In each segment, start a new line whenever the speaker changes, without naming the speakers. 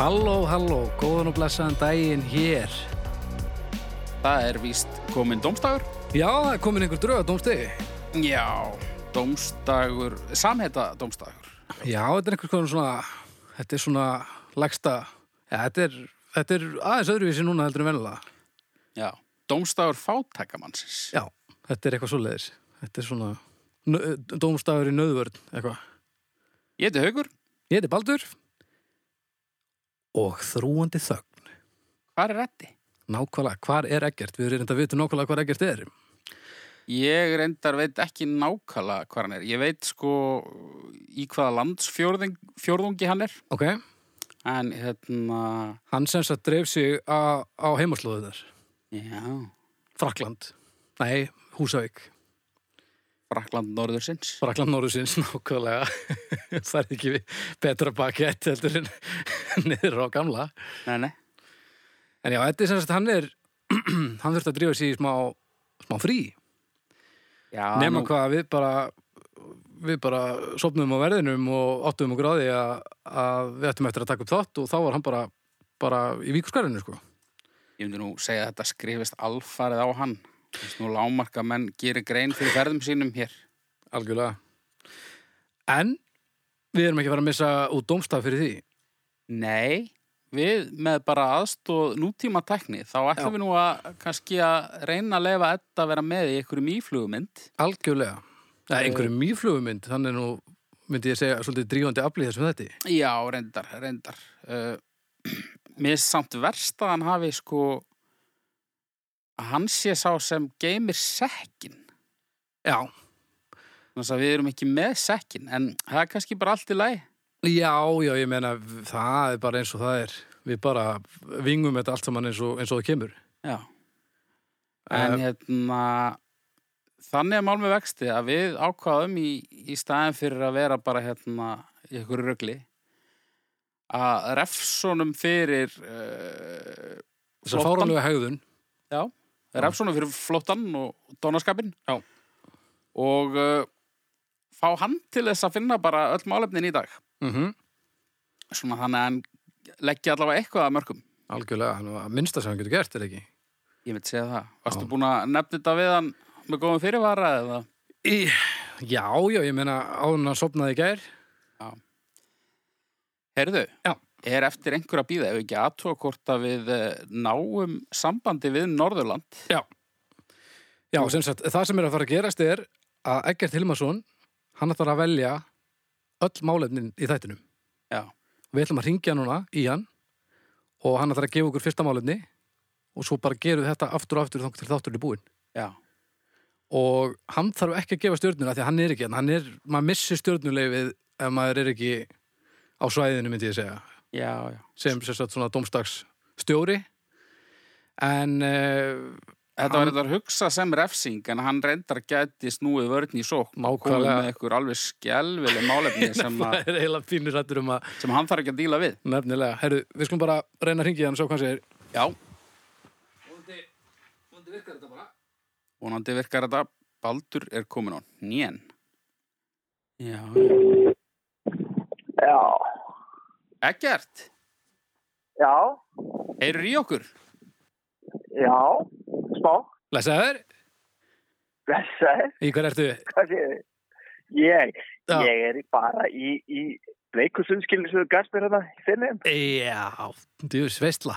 Halló, halló, góðan og blessaðan daginn hér.
Það er víst kominn domstagur.
Já, það er komin einhver drög á dómstegi.
Já, domstagur, samheita domstagur.
Já, þetta er einhvers konar svona, þetta er svona lagsta, ja, þetta, er, þetta er aðeins öðruvísi núna heldur en vennilega.
Já, domstagur fátækamannsins.
Já, þetta er eitthvað svoleiðis. Þetta er svona nö- dómstagur í nöðvörn, eitthvað.
Ég heiti Haugur,
Ég heiti Baldur og þrúandi þögn.
hvað er rætti?
Nákvæmlega, hvar er ekkert? Við erum reynda að vita nákvæmlega hvar ekkert er.
Ég reyndar veit ekki nákvæmlega hvað hann er. Ég veit sko í hvaða landsfjórðungi hann er.
Ok,
En hérna,
hann sem sagt dreif sig á, á heimaslóðunar.
já,
Frakland. Nei, Húsavík.
Frakland norðursins.
Frakland Norðursins nákvæmlega það er ekki betra pakett heldur en niður á gamla
Nei, nei.
en já, þetta er sem sagt, hann er hann þurfti að drífa sig í smá, smá frí
Já,
nema
nú-
hvað við bara við bara sopnum á verðinum og áttum okkur á því að, að við ættum eftir að taka upp þátt og þá var hann bara, bara í víkuskarinu sko
Ég myndi nú segja að þetta skrifist alfarið á hann. Þú veist, Nú lámarka menn gerir grein fyrir verðum sínum hér.
algjörlega en við erum ekki að fara að missa út dómstaf fyrir því
Nei, við með bara aðstóð nútíma tækni þá ætlum við nú að kannski að reyna að leifa þetta að vera með í einhverjum íflugumynd.
Algjörlega. Eh, Það er einhverju mýflugumynd, þannig nú myndi ég segja svolítið drífandi afli þessum þetta.
Já, reyndar, reyndar. Uh, mér er samt verst að hann hafi sko að hann sé sá sem geymir sekkin.
Já.
Þannig að við erum ekki með sekkin en það er kannski bara allt í læg.
Já, já, ég meina það er bara eins og það er. Við bara vingum þetta allt saman eins og, eins og það kemur.
Já. En hérna, þannig er mál með vexti að við ákvaðum í, í staðin fyrir að vera bara hérna í ykkur rögli að refsónum fyrir uh,
Þessar fáranlega hegðun.
já, refsónum fyrir flóttan og dónaskapin
Já.
og uh, fá hann til þess að finna bara öll málefnin í dag
Mm
svona þannig að hann leggja allavega eitthvað að mörgum
Algjörlega, hann var að minnsta sem hann getur gert, er ekki?
ég veit segja það, varstu búin að nefna þetta við hann með góðum fyrirvara eða
Í, já, já, ég meina áður en hann sopnaði í gær.
Heyrðu,
Já.
er eftir einhver að býða ef við ekki aðtóa hvort að við eh, náum sambandi við Norðurland
Já. Já, sem sagt, það sem er að fara að gerast er að Eggert Hilmarsson, hann ætlar að velja öll málefnin í þættinum.
Já,
Við ætlum að ringja núna í hann og hann ætlar að gefa okkur fyrsta málefni og svo bara gerum við þetta aftur og aftur þangað til þáttur er búinn.
já,
Og hann þarf ekki að gefa stjórnuna því að hann er ekki, hérna. hann er, maður missir stjórnulegið ef maður er ekki á svæðinu myndi ég segja,
já, já
sem sem sagt svona domstags stjóri. En uh,
Þetta var þetta að hugsa sem refsing en hann reyndar gæti snúið vörðin í sók
Nákvæmlega.
með einhver alveg skelvileg málefni sem,
það
að,
er eiginlega pínur hættur um að
sem hann þarf ekki að díla við
nefnilega, herru, við skulum bara reyna að ringja hann og sjá hvað hann segir.
Já,
Vondi, vondi virkar þetta bara.
vonandi virkar þetta Baldur er komin á nén Já, já
Já,
Eggert,
já,
heyrur í okkur?
já, smá,
Lesaður,
blessaður,
í hver ertu?
hvað séu þið? Ég,
Já.
ég er í- bara í, í bleikusundskilinu sem þú gæst mér hérna í finnum.
Já, djús veistla.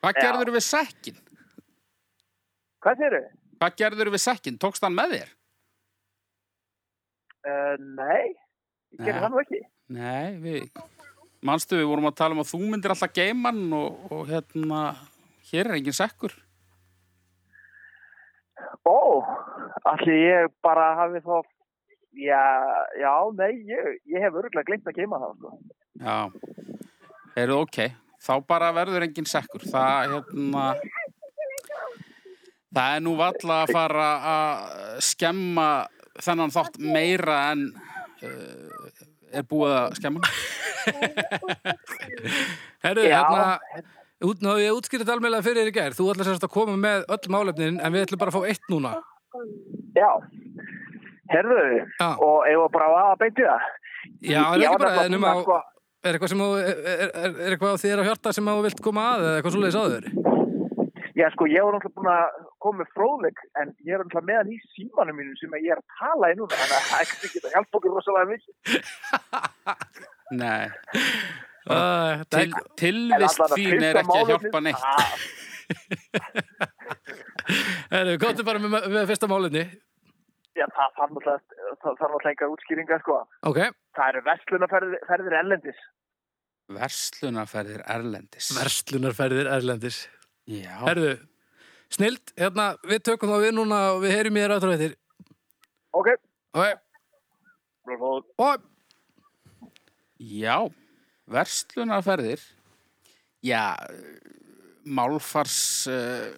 Hvað
Já.
gerður við sekkin?
Hvað séu þið?
Hvað gerður við sekkin? Tókst hann með þér?
Uh, nei, ég
Já.
gerði það nú ekki.
Nei, við, manstu við vorum að tala um að þú myndir alltaf geiman og, og hérna, hér er engin sekkur.
Ó, allir ég bara hafi þá, já, já, nei, ég, ég hef örgulega glemt að keima það, sko.
Já, heyrðu ok, þá bara verður engin sekkur. Það, hérna, það er nú valla að fara að skemma þennan þátt meira en uh, er búið að skemma.
Herru,
Já.
hérna, út, ná, ég útskýrði almeinlega fyrir þér í gær. Þú ætlar sérst að koma með öll málefnin, en við ætlum bara að fá eitt núna.
Já, herðu,
Já.
og eigum við bara að vaða beint í það.
Já, er
Ég
ekki
var
bara
nefnilega
ennum á...
búinn að, sko,
er eitthvað sem þú, er, er, er- er eitthvað þér á hjarta sem þú vilt koma að eða eitthvað svoleiðis áður?
Já, sko, ég var náttúrulega búin að koma með fróðleik, en ég er náttúrulega meðan í símanum mínum sem ég er að tala í núna, þannig að það er kannski ekki að hjálpa okkur rosalega mikið.
Nei,
Uh,
til,
En
tilvist
allan að
þín er ekki
fyrsta
að
málefnið-
hjálpa neitt.
Ah,
Herru, komdu bara með, með fyrsta málinni.
Já, það þarf náttúrulega það þarf náttúrulega engar útskýringar, sko.
Ok,
Það eru vestlunarferðir ellendis.
Verslunarferðir Erlendis.
verslunarferðir Erlendis.
Já,
Herru, snild, hérna, við tökum þá við núna og við heyrim ég þér aftur á eftir.
Ok,
Ok,
Bravo.
og
já, verslunarferðir. Já, málfars uh,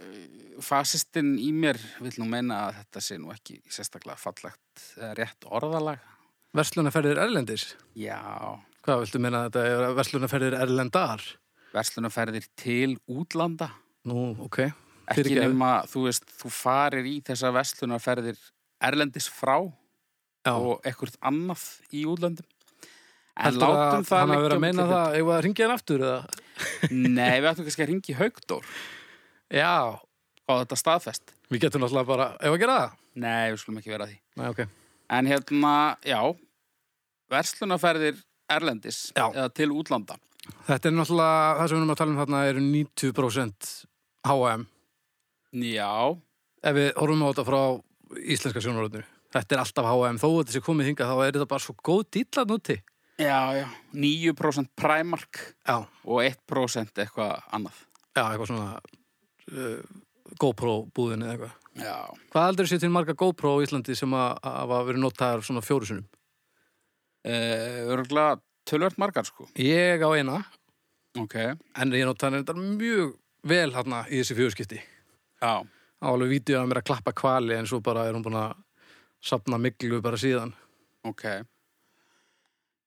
fasistinn í mér vil nú meina að þetta sé nú ekki sérstaklega fallegt eða rétt orðalag.
verslunarferðir Erlendis.
Já,
Hvað viltu minna þetta er verslunarferðir Erlendar?
verslunarferðir til útlanda.
Nú, ok.
Ekki
Fyrirgefðu.
nema, þú veist, þú farir í þessa verslunarferðir erlendis frá
Já,
og ekkert annað í útlöndum. En
Heldurðu að
látum það
hann að vera
liggja
að
á
meina
milli
það, eigum við að ringja hann aftur eða?
hluta. Nei, við ættum kannski að ringi Haugdór
Já,
á þetta staðfest.
við getum náttúrulega bara, eigum við að gera það?
Nei, við skulum ekki vera að því.
Nei, ok.
En hérna, já, verslunarferðir erlendis
Já.
eða til útlanda.
Þetta er náttúrulega, það sem við erum að tala um þarna eru 90% H&M
Já,
ef við horfum á þetta frá íslenska sjónaröðinu. Þetta er alltaf H&M, þó að þetta sé komið hingað þá er þetta bara svo góð dýtlan úti.
já, já, 9% Primark
Já,
og 1% eitthvað annað.
já, eitthvað svona uh, GoPro búðin eða eitthvað.
Já,
Hvað aldrei sé til marga GoPro á Íslandi sem að, að hafa verið notaðar svona fjóru sinum?
uh, örgulega tölvört margar sko.
Ég á eina,
Ok,
en ég notaði þetta mjög vel hérna í þessi fjóruskipti.
já,
Á alveg vídeo að mér að klappa kvali en svo bara er hún búin að sapna miklu bara síðan.
ok.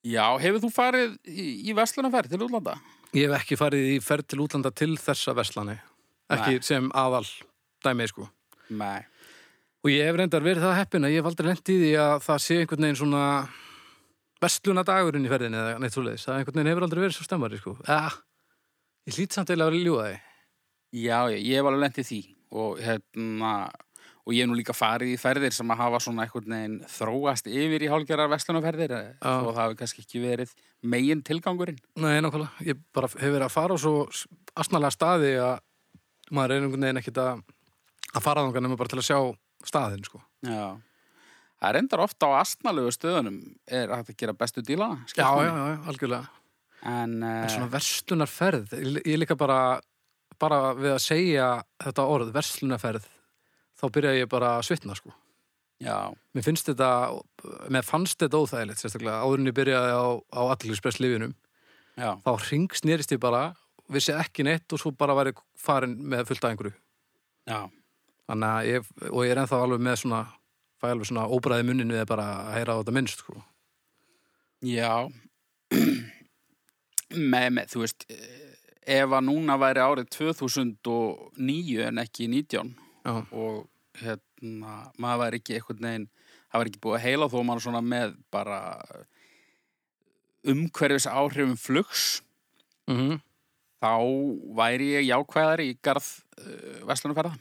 Já, hefur þú farið í, í verslunarferð til útlanda?
Ég hef ekki farið í ferð til útlanda til þessa verslani. Ekki sem aðal dæmið, sko.
Nei.
Og ég hef reyndar verið það heppin að ég hef aldrei lent í því að það sé einhvern veginn svona verslunadagurinn í ferðinni eða neitt svoleiðis. Það einhvern veginn hefur aldrei verið svo stemmari, sko. Eh, ég hlýt samt eða að vera ljúða því.
Já, já, ég hef alveg lent í því og hérna og ég hef nú líka farið í ferðir sem að hafa svona einhvern veginn þróast yfir í hálgjarar vestlunarferðir þó það hafi kannski ekki verið megin tilgangurinn.
Nei, nákvæmlega. Ég bara hef verið að fara á svo asnalega staði að maður er einhvern veginn ekkit að, að fara þangar nema bara til að sjá staðin, sko.
Já. Það reyndar ofta á astnalegu stöðunum er hægt að gera bestu dílana.
Já,
skilst
já,
manni.
já, já, algjörlega.
En,
En
uh,
svona verslunarferð, ég ég líka bara, bara við að segja þetta orð, verslunarferð, þá byrja ég bara að svitna, sko.
já,
Mér finnst þetta, mér fannst þetta óþægilegt, sérstaklega, áður en ég byrjaði á, á allilispress lifinum,
já,
þá ringsnerist ég bara, vissi ekki neitt og svo bara væri farin með fullt af einhverju.
já,
Þannig að ég, og ég er ennþá alveg með svona, fæ alveg svona óbræði munnin við bara að heyra á þetta minnst, sko.
já. með, með, þú veist, eh, ef að núna væri árið 2009 en ekki 19
Já,
og hérna, maður var ekki einhvern veginn, það var ekki búið að heila þó maður svona með bara umhverfis áhrifum flugs,
mm
þá væri ég jákvæðar í garð uh, Vestlunarferða.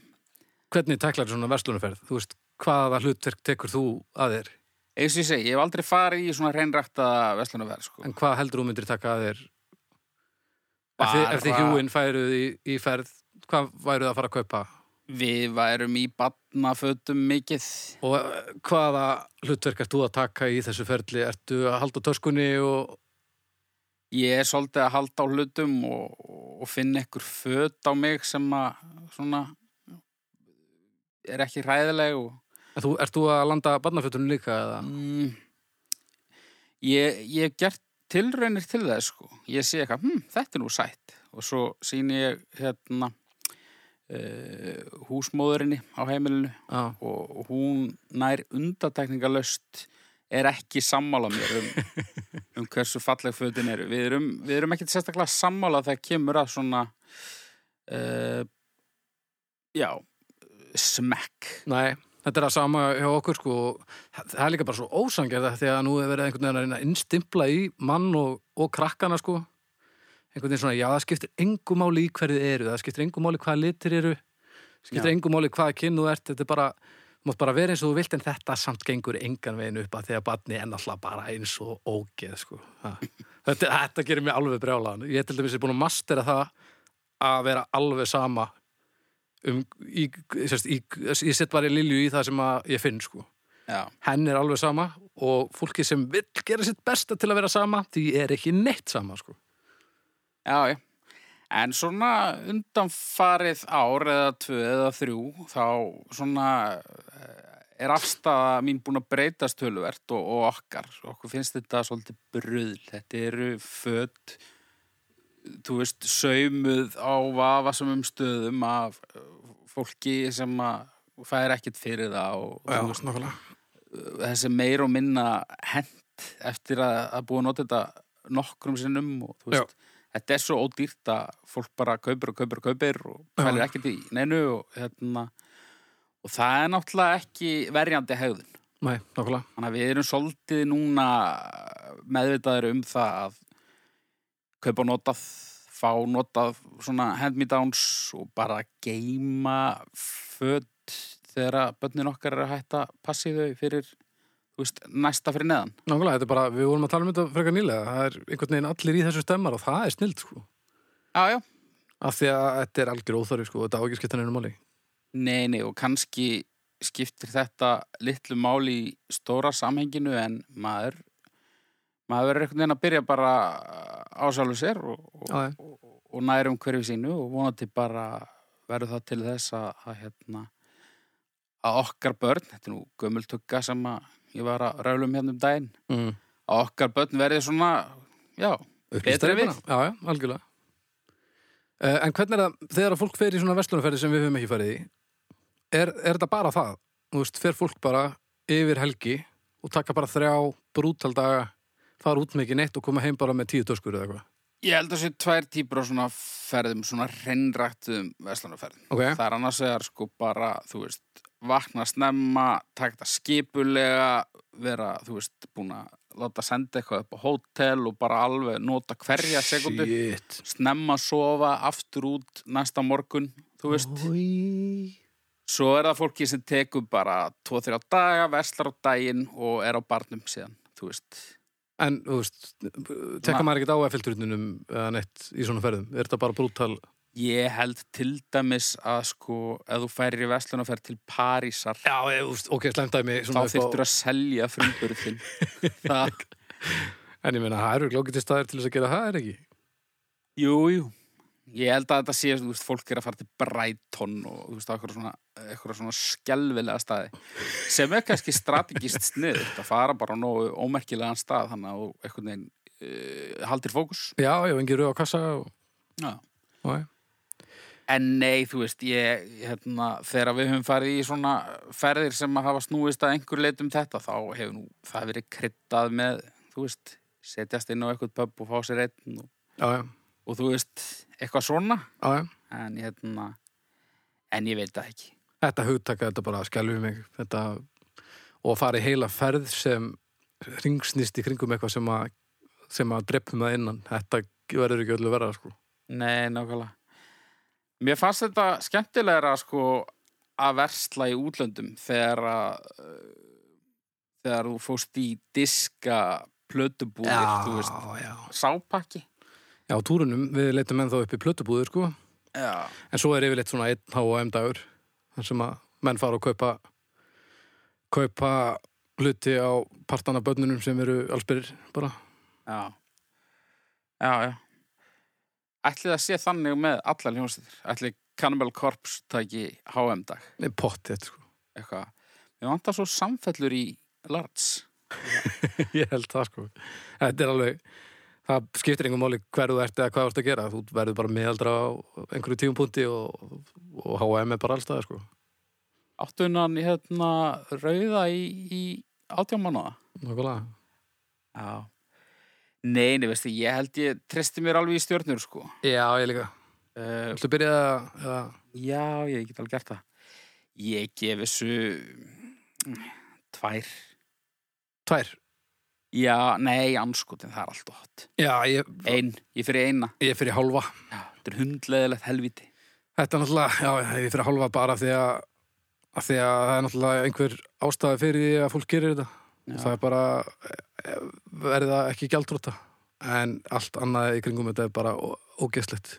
Hvernig teklar svona verslunarferð? Þú veist, hvaða hlutverk tekur þú að þér?
Eins og ég segi, ég hef aldrei farið í svona reynrækta Vestlunarferð, sko.
En hvað heldur þú myndir taka að þér? Ef
Bara-
þið, ef þið hjúin færuð í, í ferð, hvað væruð það að fara að kaupa?
Við værum í batnafötum mikið.
Og eh, hvaða hlutverk ert þú að taka í þessu ferli? Ertu að halda töskunni og...
Ég er svolítið að halda á hlutum og, og finna einhver föt á mig sem að svona er ekki hræðileg og
En Þú, ert þú að landa barnafjötunum líka eða?
Mm, ég, ég hef gert tilraunir til það sko. Ég sé eitthvað, hm, þetta er nú sætt og svo sýni ég hérna uh, húsmóðurinni á heimilinu
Já.
og og hún nær undatekningalöst er ekki sammála mér um, um hversu falleg fötin eru. Við erum, við erum ekkert sérstaklega sammála þegar kemur að svona uh, já smekk
Nei, Þetta er að sama hjá okkur sko og það er líka bara svo ósangjörða því að nú er verið einhvern veginn að reyna að innstimpla í mann og, og krakkana sko einhvern veginn svona, já það skiptir engu máli í hverju þið eru, það skiptir engu máli hvaða litir eru skiptir
Já.
engu máli hvaða kynnu ert þetta er bara, þú mátt bara vera eins og þú vilt en þetta samt gengur engan veginn upp að því að barni er náttúrulega bara eins og ógeð sko Ha. þetta, þetta gerir mig alveg brjálaðan ég til dæmis er búin að mastera það að vera alveg sama um, í, sérst, í, ég set bara í Lilju í það sem að ég finn sko.
Já,
henn er alveg sama og fólki sem vill gera sitt besta til að vera sama því er ekki neitt sama sko.
já, já. En svona undanfarið ár eða tvö eða þrjú, þá svona eh, er afstafa mín búin að breytast töluvert og, og okkar. Okkur finnst þetta svolítið bruðl. Þetta eru född, þú veist, saumuð á vafasamum stöðum af eh, fólki sem að fær ekkert fyrir það og, og þú veist,
nákvæmlega
þessi meir og minna hent eftir að, að búið að nota þetta nokkrum sinnum og þú veist, þetta er svo ódýrt að fólk bara kaupir og kaupir og kaupir og
Já.
fælir ekkert í neinu og hérna og það er náttúrulega ekki verjandi hegðun
Nei, nákvæmlega
þannig að við erum svolítið núna meðvitaður um það að kaupa notað fá notað svona hand-me-downs og bara geima föt þegar börnin okkar er að hætta passi þau fyrir þú veist, næsta fyrir neðan
Nákvæmlega, þetta er bara, við vorum að tala um þetta frekar nýlega það er einhvern veginn allir í þessu stemmar og það er snild sko.
Já, já.
af því að þetta er algjör óþarfi sko, og þetta á ekki skiptan einu máli
Nei, nei, og kannski skiptir þetta litlu máli í stóra samhenginu en maður maður er einhvern veginn að byrja bara á sjálfu sér og, og,
Já, já.
og, og nærum hverju sínu og vonandi bara verður það til þess að, að hérna að okkar börn, þetta er nú gömultugga sem að ég var að rælum hérna um daginn
mm.
að okkar börn verði svona já,
Upplýstari
Betri
bara. Já, já, algjörlega uh, En hvernig er það, þegar að fólk fer í svona vestlunarferði sem við höfum ekki farið í er, er þetta bara það? Þú veist, fer fólk bara yfir helgi og taka bara þrjá brútaldaga fara út með ekki neitt og koma heim bara með tíu töskur eða eitthvað
ég held að sé tvær típur á svona ferðum, svona reynrættum veslanarferðum
Ok,
Það er annars vegar sko bara, þú veist, vakna snemma, taka þetta skipulega, vera, þú veist, búin að láta senda eitthvað upp á hótel og bara alveg nota hverja sekundu,
shit
snemma sofa, aftur út næsta morgun, þú veist.
Í...
Svo er það fólki sem tekur bara 2-3 daga, verslar á daginn og er á barnum síðan, þú veist.
En, þú veist, tekka maður ekkert á F-filturinnum eða neitt í svona ferðum Er þetta bara brútal?
Ég held til dæmis að sko, ef þú færir í verslun og fer til Parísar,
Já, ég, þú veist, ok, slæmt dæmi
þá þyrftur að selja frumburðin. það
En ég meina, það eru glókið til staðir til þess að gera það, er ekki?
Jú, jú. Ég held að þetta sé, þú veist, fólk er að fara til Brighton og, þú veist, eitthvað svona, eitthvað svona skelvilega staði. Sem er kannski strategist snið, að fara bara á nógu ómerkilegan stað, þannig að þú einhvern veginn uh, haldir fókus.
Já, já, engi rauð á kassa og...
Já.
Já,
En nei, þú veist, ég, hérna, þegar við höfum farið í svona ferðir sem að hafa snúist að einhver leit um þetta, þá hefur nú það verið kryddað með, þú veist, setjast inn á eitthvað pub og fá sér einn og,
já, já,
og þú veist, eitthvað svona.
já, já.
en hérna en ég veit það ekki
Þetta hugtaka, þetta bara skelfið mig þetta, og að fara í heila ferð sem ringsnist í kringum eitthvað sem að, sem að dreppum að innan þetta verður ekki öllu verða sko.
nei, nákvæmlega mér fannst þetta skemmtilegra sko að versla í útlöndum þegar að uh, þegar þú fóst í diska plötubúðir, þú veist
já
sápakki
Já, á túrunum, við leitum ennþá upp í plötubúður sko.
já,
en svo er yfirleitt svona einn H&M dagur þar sem að menn fara og kaupa kaupa hluti á partana börnunum sem eru allsbyrðir bara
já já, já ætli það sé þannig með allar hljómsveitir ætli Cannibal Corpse tæki HM dag
pottið sko.
eitthvað, mér vantar svo samfellur í larts
Ég held það sko Þetta er alveg Það skiptir engum máli hverðu þú ert eða hvað þú ert að gera Þú verður bara meðaldra á einhverju tíumpunkti og, og H&M er bara allstað sko.
áttu hennan hérna rauða í, í átján mánuða?
Nákvæmlega
Já. Nei, nei, veistu, ég held ég treysti mér alveg í stjórnur, sko.
Já, ég líka Eh,
Uh,
Viltu byrja að
já, ég get alveg gert það. Ég gef þessu Tvær.
Tvær.
Já, nei, anskutin, það er allt og hot.
Já, ég,
Ein, ég fyrir eina.
ég fyrir hálfa.
Þetta er hundleðilegt helviti.
Þetta er náttúrulega, já, ég fyrir hálfa bara af því að, að því að það er náttúrulega einhver ástæði fyrir því að fólk gerir þetta.
Já.
Það er bara eh, verða ekki gjaldróta. En allt annað í kringum þetta er bara ó- ógeðslegt.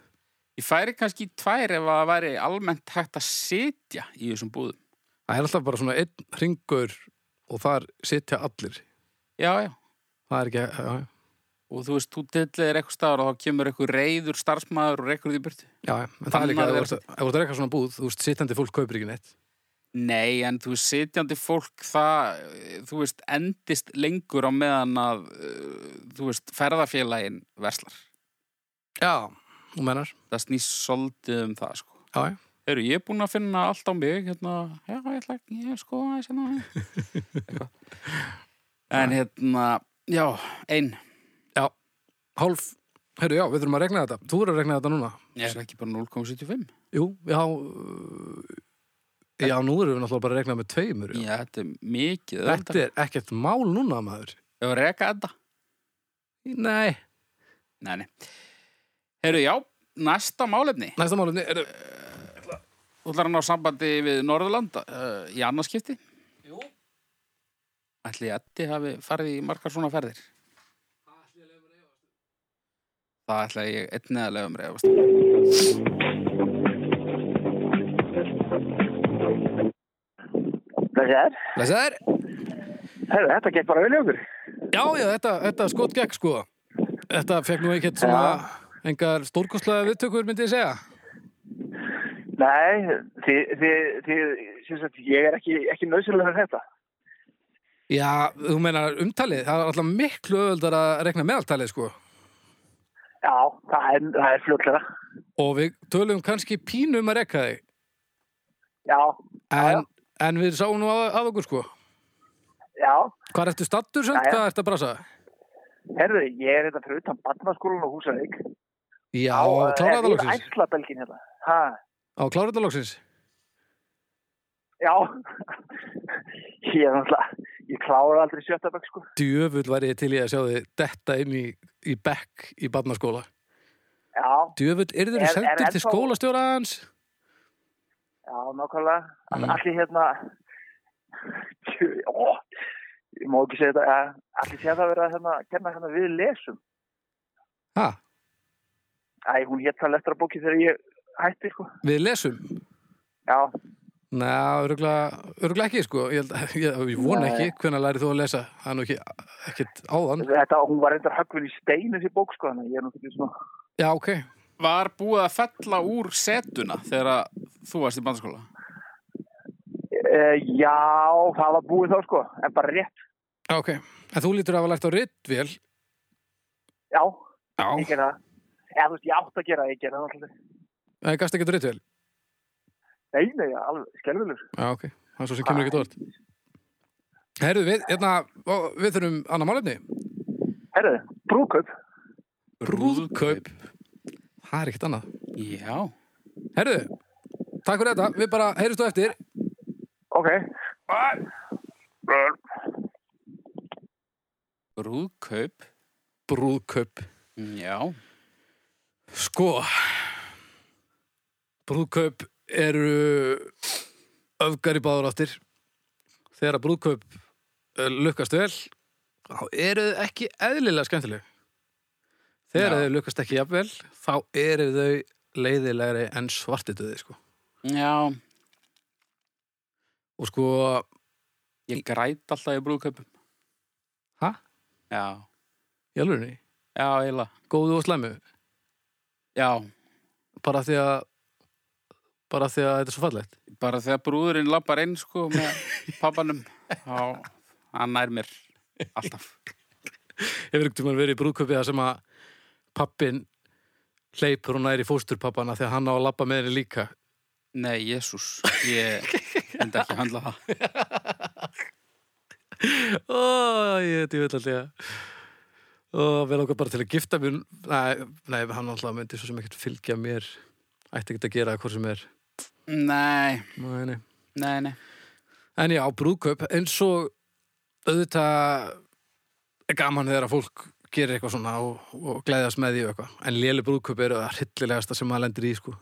Ég færi kannski í tvær ef að það væri almennt hægt að sitja í þessum búðum.
Það er alltaf bara svona einn hringur og þar sitja allir.
Já, já.
Það er ekki, já, já.
Og þú veist, þú dillir eitthvað staðar og þá kemur eitthvað reyður starfsmæður og reykur því burtu.
Já, já, en það er líka,
Annað er
ef þú ert að- ef þú ert að reyka svona búð, þú veist, sitjandi fólk kaupir ekki neitt.
Nei, en þú veist, sitjandi fólk það, eh, þú veist, endist lengur á meðan að, eh, þú veist, ferðafélagin verslar.
Já. Þú mennar,
Það snýst svolítið um það, sko.
já, já.
Eru ég er búinn að finna allt á mig, hérna, já, ég ætla ekki, ég sko, ég sé það. En hérna, já, einn.
Hálf, heyrðu, já, við þurfum að regna þetta. Þú verður að regna þetta núna.
Ég er ekki bara 0,75.
Jú, já, uh, já, nú erum við náttúrulega bara að regna með tveimur. Já.
Já, þetta er mikið.
Þetta er ekkert mál núna, maður.
Ég var að reka þetta.
Nei.
Nei, nei. Herru, já, næsta málefni.
Næsta málumni, er það...
Þú ætlar að ná sambandi við Norðurland uh, í annarskipti? Jú. Ætli Eddi hafi farið í margar svona ferðir? Það ætla ég einnig að um. leiðum reyðast.
Þessi er,
Lesaður?
herru, þetta gekk bara vel í okkur.
Já, já, þetta, þetta skot gekk, sko. Þetta fekk nú ekkert svona engar stórkostlega viðtökur, myndi ég segja.
Nei, þið, þið, þið, sem sagt, ég er ekki, ekki nöðsynlega með þetta.
Já, þú meinar umtalið, það er alltaf miklu öðvöldar að regna meðaltalið, sko.
Já, það er, það er fljóklara.
Og við tölum kannski pínum að rekka þig,
Já,
en, en við sáum nú að, að okkur, sko.
já,
Hvað ertu stattur, sem?
Já, já.
Hvað ertu að brasa?
herru, ég er þetta fyrir utan barnaskólan og húsavík.
Já, klára þetta loksins.
Æslabelgin hérna. Ha,
Á, klára þetta loksins.
já, ég er náttúrulega, ég klára aldrei sjötta bekk, sko.
djöfull væri ég til ég að sjá þið detta inn í, í bekk í barnaskóla.
Já,
Djöfull, eru þeir
Er- er
sendir til
ennþá-
skólastjóra hans?
Já, nákvæmlega. Mm. Allir hérna, ó, ég má ekki segja þetta, allir sé það að vera hérna, kenna hérna við lesum.
Ha,
Æ, hún hétt það lestra bóki þegar ég hætti, sko.
við lesum?
Já,
Næ, öruglega ekki, sko. Ég, held, að- ég, ég vona
Nei.
ekki. Hvenær lærið þú að lesa? Það er nú ekki, ekkit áðan.
þetta, hún var reyndar höggvin í stein þessi bók, sko, þannig að ég er náttúrulega svona.
Já, ok.
Var búið að fella úr setuna þegar að þú varst í bandaskóla?
E, já, það var búið þá, sko, en bara rétt.
Já, ok. En þú lítur að hafa lært á rittvél.
Já, ég
Já.
gerði það. Já, þú veist, ég átt að gera það, ég gerði það náttúrulega.
Það gasta ekki á rittvél.
Nei, nei, alveg, skelvilegur.
Já, ok. Það er svo sem kemur ekki dórt. Herðu, við, hérna, ó, við þurfum annað málefni.
Herðu, brúköp.
Brúðkaup. Það er ekkit annað.
Já.
Herðu, takk fyrir þetta. Við bara heyrjumst á eftir.
Ok.
Brúðkaup?
Brúðkaup.
Já.
Sko, brúðkaup eru öfgar í báður áttir. Þegar að brúðkaup eh, lukkast vel, þá eru þau ekki eðlilega skemmtileg. Þegar
Já.
þau lukkast ekki jafnvel, þá eru þau leiðilegri en svartituði, sko.
Já.
Og sko,
Ég græt alltaf í brúðkaupum.
hæ?
Já.
Í alvegni,
Já, eiginlega.
góðu og slæmu.
Já.
Bara því að, bara því að þetta er svo fallegt.
Bara þegar brúðurinn lappar inn, sko, með pappanum. Já. Hann nær mér. Alltaf.
hefur einhvern tímann verið í brúðköpi það sem að pappin hleypur og næri fósturpappana þegar hann á að labba með henni líka
Nei, Jésús. Ég enda ekki að handla það.
Ó, ég veit, ég veit alltaf og vel okkar bara til að gifta mér nei, nei hann alltaf myndi svo sem ekkert fylgja mér ætti ekkert að gera það hvort sem er
Nei,
nei, nei.
nei, nei.
En já, brúðkaup, eins og auðvitað er gaman þegar að fólk gerir eitthvað svona og, og gleðast með því og eitthvað. En léli brúðkaup eru það hryllilegasta sem maður lendir í, sko.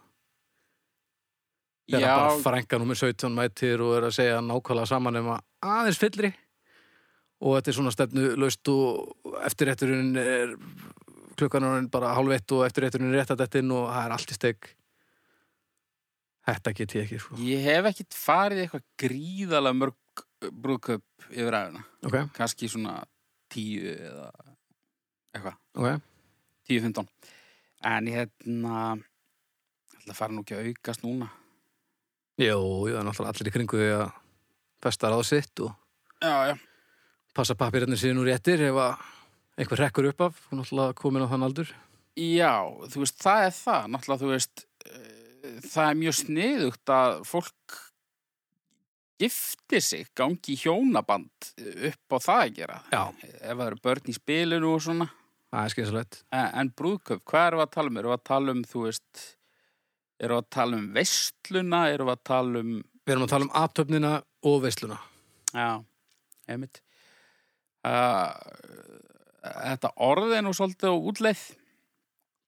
Þegar bara frænka nummer 17 mætir og er að segja nákvæmlega saman um að aðeins fyllri. Og þetta er svona stefnu laust og eftirrétturinn er klukkanurinn bara hálf eitt og eftirrétturinn er rétt að þetta inn og það er allt í steg. Þetta get ég ekki, sko.
Ég hef ekkit farið í eitthvað gríðalega mörg brúðköp yfir aðeina.
Ok,
Kanski svona 10 eða eitthvað,
ok.
10-15. En ég hérna, ætla að fara nú ekki að aukast núna.
Jó, jú, það er náttúrulega allir í kringu því að festa ráð sitt og
Já, já.
passa pappirarnir síðan úr réttir ef að einhver rekkur upp af, hún er alltaf komin á þann aldur.
Já, þú veist, það er það. Náttúrulega, þú veist, eh, það er mjög sniðugt að fólk gifti sig, gangi í hjónaband eh, upp á það að gera.
Já.
Ef það eru börn í spilinu og svona.
Það er skynsalegt.
En, en brúðköp, hvað erum við að tala um? Erum við að tala um, þú veist, erum við að tala um veistluna, erum við að tala um,
Við erum að tala um aftöfnina og veisluna.
já, einmitt. Uh, þetta orð er nú svolítið á útleið.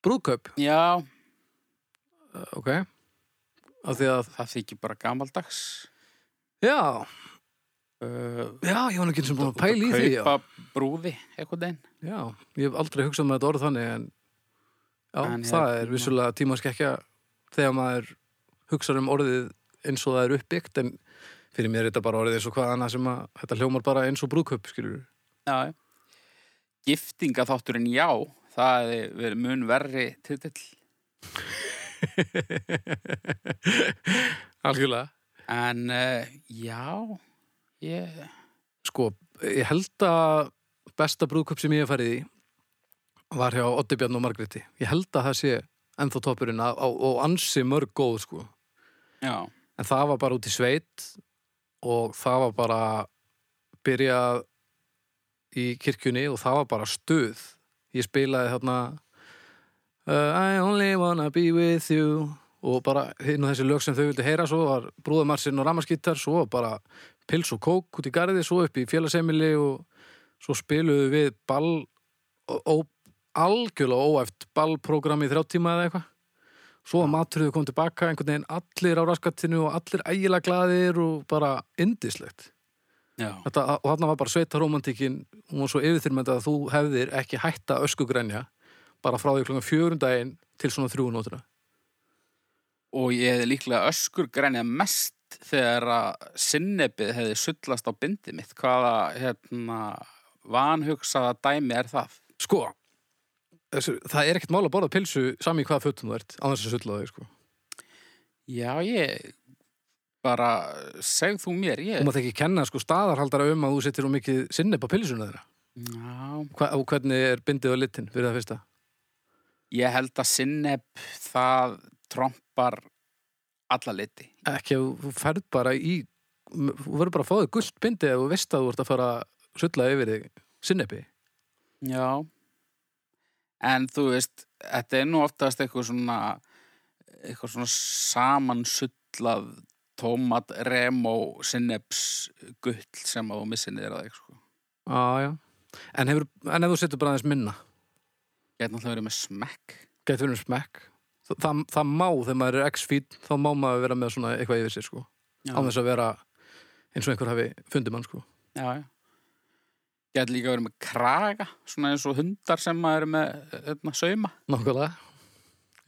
Brúðkaup,
Já,
ok. Af því að,
það þykir bara gamaldags.
já,
Uh,
já, ég var nú ekki eins og búin að
út
pæla í því. Já.
Kaupa brúði, eitthvað einn.
já, ég hef aldrei hugsað með þetta orð þannig en já,
En
það
hérna-
er vissulega tíma að skekja þegar maður hugsar um orðið eins og það er uppbyggt en fyrir mér er þetta bara orðið eins og hvað annað sem að þetta hljómar bara eins og brúðkaup, skilur
Já, já. Giftingaþátturinn já, það er verið mun verri titill.
Algjörlega.
En uh, já, ég...
sko, ég held að besta brúðköp sem ég hef farið í var hjá Oddi Bjarn og Margréti ég held að það sé ennþá toppurinn á, á, og ansi mörg góð sko
Já,
en það var bara út í sveit og það var bara byrjað í kirkjunni og það var bara stuð ég spilaði þarna uh, I only wanna be with you og bara hinn og þessi lög sem þau vildi heyra svo var brúðamarsinn og ramaskittar svo var bara pils og kók út í garði svo upp í félagsemili og svo spiluðu við ball ó, ó- algjörlega óæft ballprogram í þrjá tíma eða eitthvað svo að maturðu kom tilbaka einhvern veginn allir á raskattinu og allir ægilega glaðir og bara indislegt
já.
Þetta, og þarna var bara sveita romantíkin hún var svo yfirþyrmend að þú hefðir ekki hætta öskugrænja bara frá því klokkan fjörun daginn til svona þrjú um nótuna
Og ég hefði líklega öskur grænjað mest þegar að sinnebið hefði sullast á bindið mitt. Hvaða, hérna, vanhugsaða dæmi er það?
sko, þessu, það er ekkert mál að borða pilsu sami í hvaða fötum þú ert á þess að sulla þau sko.
Já, ég bara, segð þú mér,
og
ég...
maður ekki kenna sko, staðarhaldara um að þú settir um mikið sinneb á pilsuna þeirra
Já,
Hva, og hvernig er bindið á litin fyrir það fyrsta
ég held að sinneb það trompar alla liti.
ekki ef þú ferð bara í þú verður bara að fá þig gullt bindi ef þú veist að þú ert að fara að sulla yfir þig sinnepi
Já. En þú veist, þetta er nú oftast eitthvað svona, eitthvað svona samansullað tómat, remo, sinneps, gull sem að þú missir niður sko. að eitthvað.
ah, en, hefur, en ef þú setur bara aðeins minna
Gæti náttúrulega verið með smekk.
getur verið um smekk Þa, það, það má þegar maður er x-feed þá má maður vera með svona eitthvað yfir sér sko
Já,
á þess að vera eins og einhver hafi fundið mann sko
já, já. Gæti líka verið með kraga, svona eins og hundar sem að eru með öðna, sauma.
nákvæmlega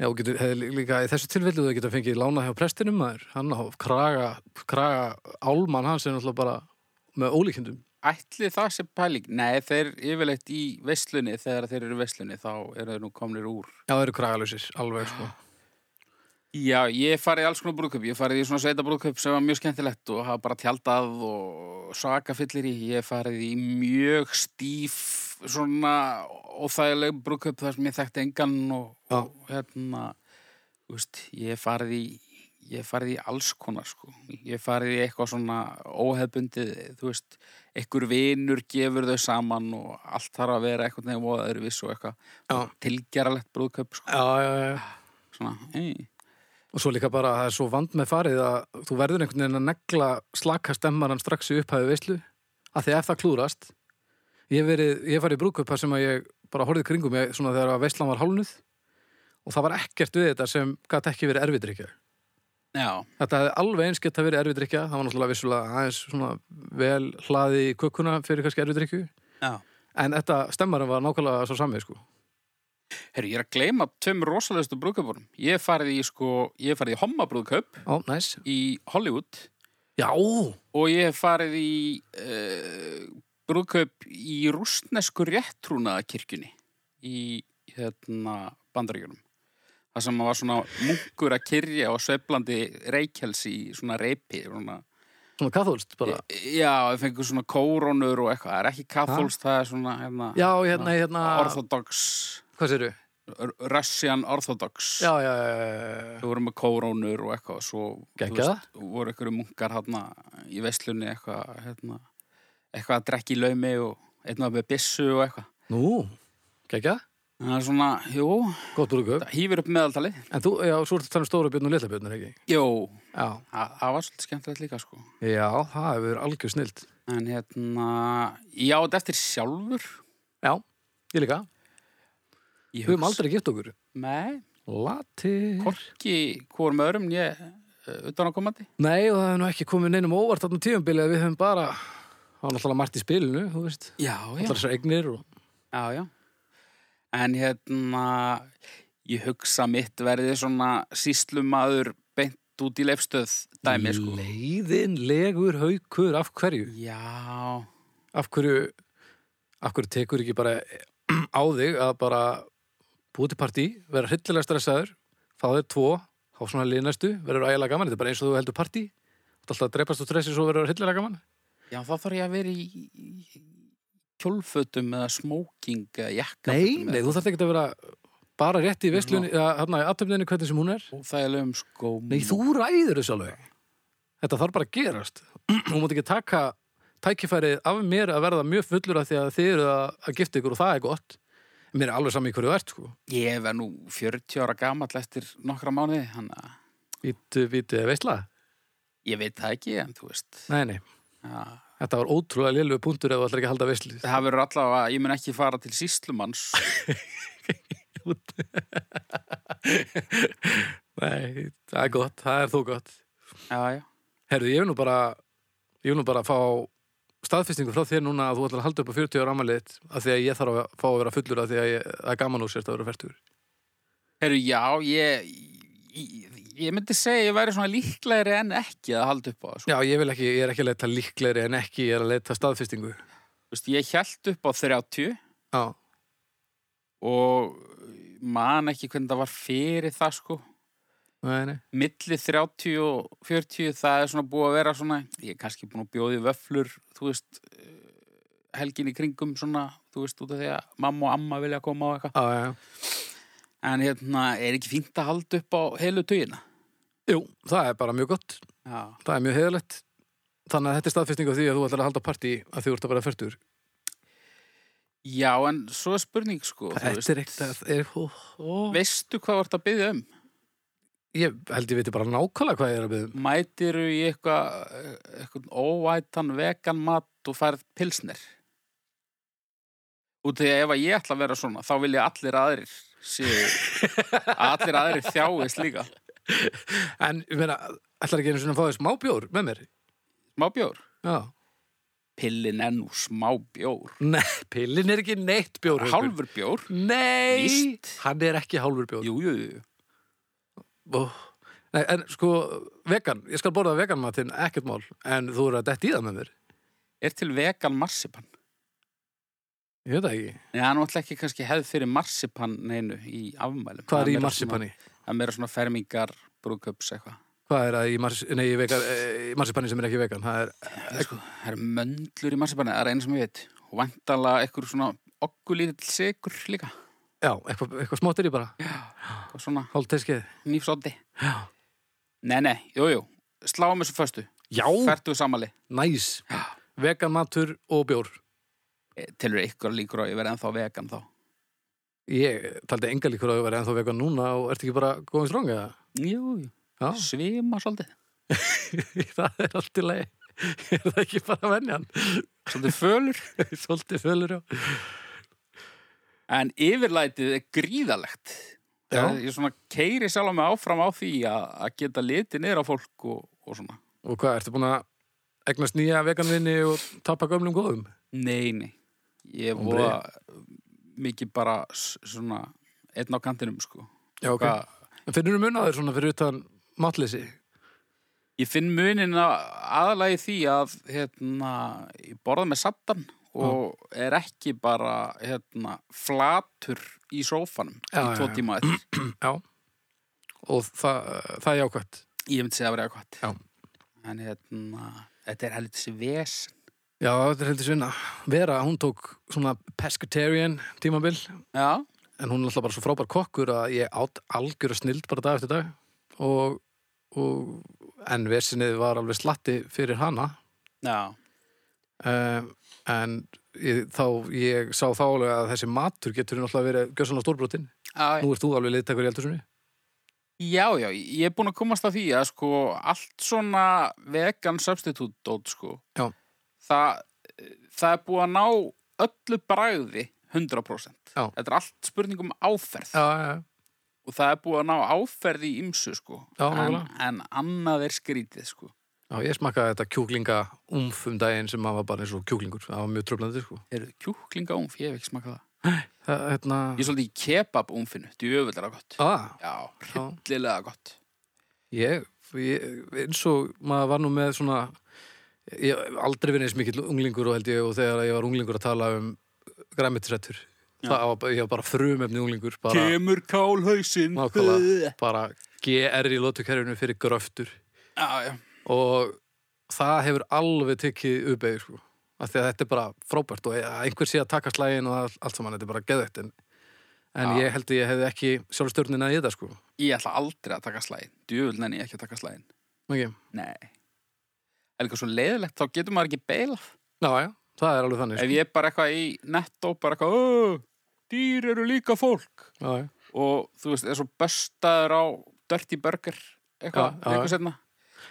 Já, og getur, hefði lí- líka í þessu tilfellu þú getur að fengið lána hjá prestinum maður hann á kraga, kraga álmann hans er náttúrulega bara með ólíkindum
Ætli það sem pæling? Nei, þeir yfirleitt í veslunni, þegar þeir eru í veslunni, þá eru þeir nú komnir úr
Já, það eru kragalösir, alveg sko
Já, ég hef farið í alls konar brúðkaup, ég hef farið í svona sveita brúðkaup sem var mjög skemmtilegt og hafa bara tjaldað og sakafyllir í, ég hef farið í mjög stíf svona óþægileg brúðkaup þar sem ég þekkti engan og,
Já.
og hérna, þú veist, ég hef farið í, ég hef farið í alls konar sko, ég hef farið í eitthvað svona óhefbundið, þú veist, einhver vinur gefur þau saman og allt þarf að vera eitthvað nefn og öðru viss og eitthvað
Já.
tilgeralegt brúðkaup sko
Já, já, já.
svona, hei,
Og svo líka bara, það er svo vand með farið að þú verður einhvern veginn að negla slaka stemmaran strax í upphæðu veislu að því ef það klúrast ég hef verið, ég hef farið í brúköpa sem að ég bara horfið kringum ég svona þegar að veislan var hálnuð og það var ekkert við þetta sem gæti ekki verið erfidrykja
Já,
Þetta hefði alveg eins geta verið erfidrykja það var náttúrulega vissulega aðeins svona vel hlaði í kökuna fyrir kannski erfidrykju
já.
en þetta stemmaran var nákvæmlega svo samið sko.
Herru, ég er að gleyma tveim rosalegustu brúðkaupunum. Ég hef farið í, sko, ég hef farið í homma brúðkaup
Ó, næs
í Hollywood
Já,
og ég hef farið í uh, brúðkaup í rústnesku réttrúnaðakirkjunni í hérna, bandaríkjunum. Það sem var svona munkur að kyrja og sveiflandi reykjelsi í svona reypi. Svona,
svona kathólst bara
já, það fengur svona kórónur og eitthvað. Það er ekki katholst, það er svona hérna,
Já, hérna, hérna
orthodox,
Hvað sérðu?
r- russian orthodox.
Já, já, já, já, já.
Við vorum með kórónur og eitthvað og svo þú
Geggjað.
veist, voru einhverju munkar hérna í veslunni eitthvað hérna, eitthvað að drekka í laumi og eitthvað með byssu og eitthvað.
Nú, kekja,
Það er svona, jú,
gott brúðkaup.
það hýfir upp meðaltali.
En þú, já, svo ertu að tala um stóra björn og litla björnur, ekki?
Jú,
Já.
það það var svolítið skemmtilegt líka sko.
Já, það hefur algjör snilt.
En hérna, ég á þetta eftir sjálfur.
Já, ég líka.
Ég
Við höfum
hugsa-
aldrei gift okkur.
Nei,
Lati.
hvorki hvorm öðrum eh, ég utan á komandi.
Nei, og það hefur nú ekki komið neinum óvart þarna tíumbili að við höfum bara, það var náttúrulega margt í spilinu, þú veist.
Já,
Allar þessar eignir og...
Já, já. En hérna, ég hugsa mitt verði svona síslumadur beint út í leifstöð dæmi, sko.
Leiðin, legur, haukur, af hverju?
Já,
Af hverju, af hverju tekur ekki bara á þig að bara búið til partí, vera hryllilega stressaður, fá þér tvo, há svona liðnæstu, verður ægilega gaman, þetta er bara eins og þú heldur partí, þú ert alltaf að drepast og stressi svo verður hryllilega gaman.
já, þá þarf ég að vera í í kjólfötum eða smóking eða jakka.
Nei, nei, þú þarft ekki að vera bara rétt í veistlunni, hérna í aðtöfninni hvernig sem hún er.
Og það er lögum skóm.
Nei, þú ræður þessu alveg. Þetta þarf bara að gerast. Þú mátt ekki taka tækifærið af mér að verða mjög fullur af því að þið eru að, að gifta ykkur og það er gott. Mér er alveg sami í hverju þú ert, sko.
Ég verð nú 40 ára gamall eftir nokkra mánuði, hann að
Vítu, vítu, veistla?
ég veit það ekki, en þú veist.
Nei, nei.
Já.
Þetta var ótrúlega lélug punktur ef þú ætlar ekki að halda veislið.
Það verður allavega að ég mun ekki fara til síslumanns.
Nei, það er gott, það er þó gott.
já, já.
Herðu, ég vil nú bara, ég vil nú bara fá staðfestingu frá þér núna að þú ætlar að halda upp á 40 ára ammaliðitt af því að ég þarf að fá að vera fullur af því að ég, það er gaman úr sérst að vera færtur.
Herru, já, ég, ég, ég myndi segja að ég væri svona líklegri en ekki að halda upp á það. Sko.
Já, ég vil ekki, ég er ekki að leita líklegri en ekki, ég er að leita staðfestingu.
Þú veist, Ég held upp á 30
Já,
og man ekki hvernig það var fyrir það, sko.
nei, nei.
Milli 30 og 40, það er svona búið að vera svona, ég er kannski búin að bjóða í vöflur, þú veist, eh, helgin í kringum svona, þú veist, út af því að mamma og amma vilja koma á eitthvað.
Já, já, já.
En hérna, er ekki fínt að halda upp á heilu tugina?
Jú, það er bara mjög gott,
Já.
það er mjög heðalegt. Þannig að þetta er staðfestingu af því að þú ætlar að halda partí að þú ert að vera færtur.
Já, en svo er spurning, sko. þú veist.
Þetta er eitt að, er, ó, ó.
Veistu hvað þú ert að byggja um?
Ég held ég veit bara nákvæmlega hvað ég er að byggja um.
mætiru í eitthvað eh, eitthvað óvætan vegan mat og færð pilsnir út af því að ef að ég ætla að vera svona þá vil ég allir aðrir séu, að allir aðrir þjáist líka
En, ég meina, ætlar ekki einu svona að fá þér smábjór með mér?
smá bjór
Já.
pillin er nú smá bjór
Nei, pillin er ekki neitt bjór. Haukur.
hálfur bjór
Nei!
Víst.
Hann er ekki hálfur bjór.
jú, jú, jú.
Ó. Oh. Nei, en sko, vegan, ég skal borða vegan matinn, ekkert mál, en þú eru að detti í það með mér.
er til vegan marsipan
Ég veit það ekki.
Nei, það er náttúrulega ekki kannski hefð fyrir marsipan neinu í afmælum
Hvað
Það
er í
meira
marsipanni?
svona- það er meira svona fermingar brúköps eitthvað
Hvað er það í, mars, nei, í, vegan, eh, í marsipanni sem er ekki vegan? Það er,
sko, það eru möndlur í marsipanni, það er eina sem ég veit. Og vantala eitthvað svona okkulítill sigur líka.
já, eitthvað, eitthvað smátt er í bara,
Og svona
hálf teskið.
nýfsótti.
Já.
Nei, nei, jú, jú, sláum þessu föstu.
Já,
Fertu samali.
næs. Vegan matur og bjór.
Eh, Telur ykkur líkur á, að ég verði ennþá vegan þá.
Ég taldi enga líkur á að vera ennþá vegan núna og ert ekki bara góðins rong eða?
Jú, jú.
Já,
svima svolítið
það er allt í lagi. Er það ekki bara venjan?
svolítið fölur
Svolítið fölur, já.
en yfirlætið er gríðalegt
Já.
ég svona keiri sjálf mig áfram á því að, að geta litið niður á fólk og, og svona
Og hvað, ertu búin að egnast nýja veganvinni og tapa gömlum góðum?
nei, nei ég
Hombre.
voru mikið bara s- svona einn á kantinum sko
Já, ok.
Hvað-
En finnur þú munaður svona fyrir utan mátleysi?
Ég finn munin aðalagi því að hérna, ég borða með sattan og er ekki bara hérna, flatur í sófanum
Já,
í tvo
já, já.
tíma eftir.
Já. Og það, það er jákvæmt.
Ég myndi segja að vera eitthvað.
Já.
En hérna, þetta er helvits vesen.
Já, þetta er heldur svinna. Vera, hún tók svona pescatarian tímabil
Já,
en hún er alltaf bara svo frábær kokkur að ég átt algjör snild bara dag eftir dag og, og en vesinnið var alveg slatti fyrir hana
já,
um, en ég, þá ég sá þá alveg að þessi matur getur náttúrulega verið gjössanlega stórbrotin
já.
nú ert þú alveg liðtakur í eldursunni
Já, já, ég er búin að komast að því að sko allt svona vegan substitute dót sko.
Já.
Það, það er búið að ná öllu bragði 100%.
Já.
Þetta er allt spurning um áferð.
já, já,
og það er búið að ná áferði í ymsu sko
Já,
en,
nákvæmlega.
en annað er skrítið sko
já, ég smakkaði þetta kjúklinga umf um daginn sem maður var bara eins og kjúklingur það var mjög tröflandi sko
Eru kjúklinga umf, ég hef ekki smakað það
það, hérna, Ah.
Ég er svolítið í kebab umfinu, djöfulega gott
að,
Já, hryllilega gott
Ég, ég, eins og maður var nú með svona ég hef aldrei verið eins mikill unglingur og held ég og þegar ég var unglingur að tala um græmitisrættur það var, bara- ég var bara frumefni unglingur bara,
Kemur kálhausin
nákvæmlega, bara GR í lótukerfinu fyrir gröftur
Já, já,
og það hefur alveg tekið uppeyð sko. af því að þetta er bara frábært og að einhver sé að taka slægin og allt- allt saman, þetta er bara geðvægt en, en
Já.
ég held að ég hefði ekki sjálfstörnina í þetta sko.
ég ætla aldrei að taka slæðin Djöfulega en ég ekki að taka slæðin
okay.
Nei Er eitthvað svo leiðilegt, þá getur maður ekki beilað
Ná, já, það er alveg þannig sko.
Ef ég er bara eitthvað í netto, bara eitthvað "Ó, Dýr eru líka fólk
já, já.
og þú veist, er svo böstaður á Dirty Burger eitthvað,
Já, já,
eitthvað
já.
setna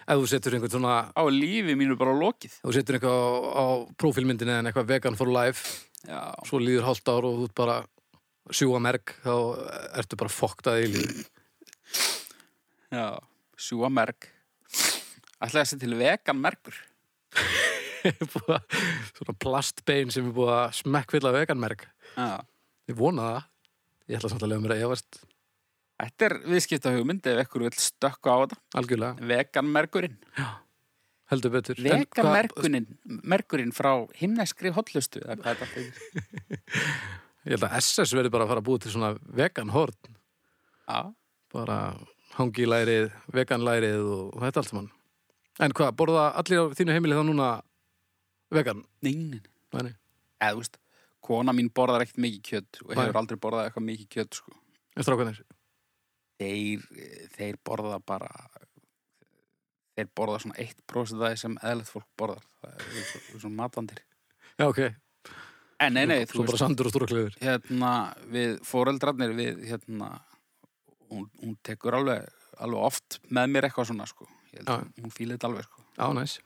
ef þú setur einhvern svona
á lífi mínu bara lokið
ef þú setur eitthvað á, á prófílmyndinni en eitthvað vegan for life
já,
svo líður hálft ár og þú ert bara sjúga merk, þá ertu bara foktað í lífi
já, sjúa merg ætlaði að setja til vegan mergur
Búið að- svona plastbein sem er búið að smekkfylla vegan merk
já,
ég vona það, ég ætla samt að lega mér að efast
þetta er viðskipta hugmynd ef ekkur vil stökka á þetta
algjörlega,
vegan mergurinn
heldur betur En
vegan
hvað-
mergurinn, mergurinn frá himneskri hotlustu eða hvað þetta heitir.
ég held að SS verður bara að fara að búið til svona vegan hort
já,
bara hangi lærið, vegan lærið og, og þetta allt saman en hvað, borða allir á þínu heimili þá núna vegan?
neinin
Nei, nei.
eða þú veist, kona mín borðar ekkert mikið kjött og
Nei.
hefur aldrei borðað eitthvað mikið kjött sko.
En strákanir?
þeir, þeir borða bara þeir borða svona 1% af því sem eðlert fólk borðar það er svo- svona matvandir
Já, ok.
en nei, nei,
Svo
þú
bara
veist
sandur og stórkleður.
hérna, við foreldrarnir við, hérna hún, hún tekur alveg, alveg oft með mér eitthvað svona, sko Ég held,
Já.
að hún fílið þetta alveg, sko
Já, næs.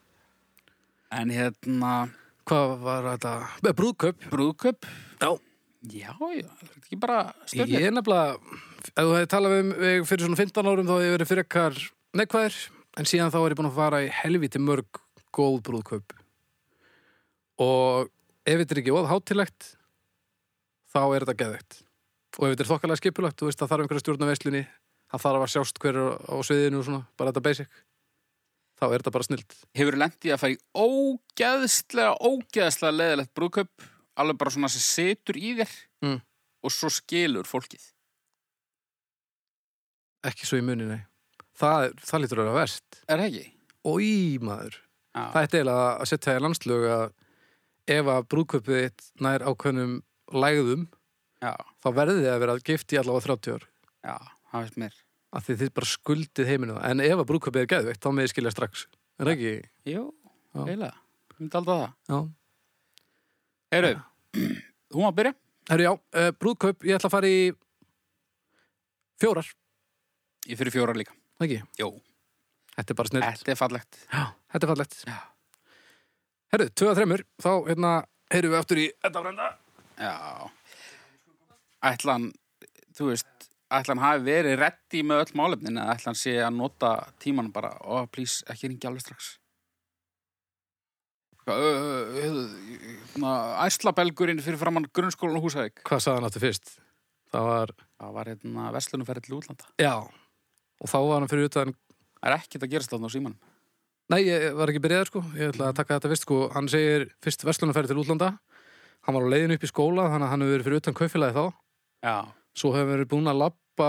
en hérna,
Hvað var þetta? Eh, Brúðkaup.
brúðköp
Já.
já, já, er þetta ekki bara
Ég
stjórnir
er nefnilega, ef þú hefði talað um mig fyrir svona 15 árum þá hefði ég verið fyrir ekkar neikvæður, en síðan þá er ég búin að fara í helviti mörg góð brúðkaup. Og ef þetta er ekki óðháttilegt, þá er þetta geðveikt. Og ef þetta er þokkalega skipulagt, þú veist það þarf einhverja stjórna veislunni, það þarf að sjást hverju á sviðinu og svona, bara þetta basic. Þá er þetta bara snilt.
hefur lendið að fara í ógeðslega, ógeðslega leðilegt brúðköp alveg bara svona sem setur í þér
Mm.
og svo skilur fólkið
Ekki svo í muni, nei. Það, það lítur að vera verst.
er það ekki?
Í maður.
Já.
Það er til að, að setja í landslög að ef að brúðkaupið þitt nær ákveðnum lægðum,
Já,
þá verðið þið að vera gift í allavega 30 ár.
já, það veist mér.
Af því þið bara skuldið heiminu. það. En ef að brúðkaupið er geðveikt, þá meði skilja strax. Er það ekki?
Jú,
Já.
eiginlega. Ég myndi alltaf það.
Já.
Heyrðu, þú má byrja.
Herru, já, uh, brúðkaup, ég ætla að fara í fjórar,
Ég fyrir fjóra líka.
ekki?
Jú.
Þetta er bara snill.
Þetta er fallegt.
Já, þetta er fallegt.
Já.
Herru, tvö að þremur, þá hérna heyrum við aftur í Edda Brenda.
Já. Ætlan, þú veist, ætlan hafi verið reddi með öll málefnin eða ætlan sé að nota tímanum bara og oh, please, ekki ringi alveg strax. Hvað, ö, ö, ö, ö, na, Æslabelgurinn fyrir framann grunnskólan og húsæðik.
Hvað sagði hann aftur fyrst? Það var,
Það var hérna verslunum ferði til útlanda.
já, og þá var hann fyrir utan,
Það er ekkert að gerast þarna á símanum.
nei, ég var ekki byrjaður sko, ég ætla að taka þetta fyrst sko, hann segir fyrst verslunarferði til útlanda, hann var á leiðinu upp í skóla, þannig að hann hefur verið fyrir utan kaufélagi þá,
Já.
svo hefur verið búin að labba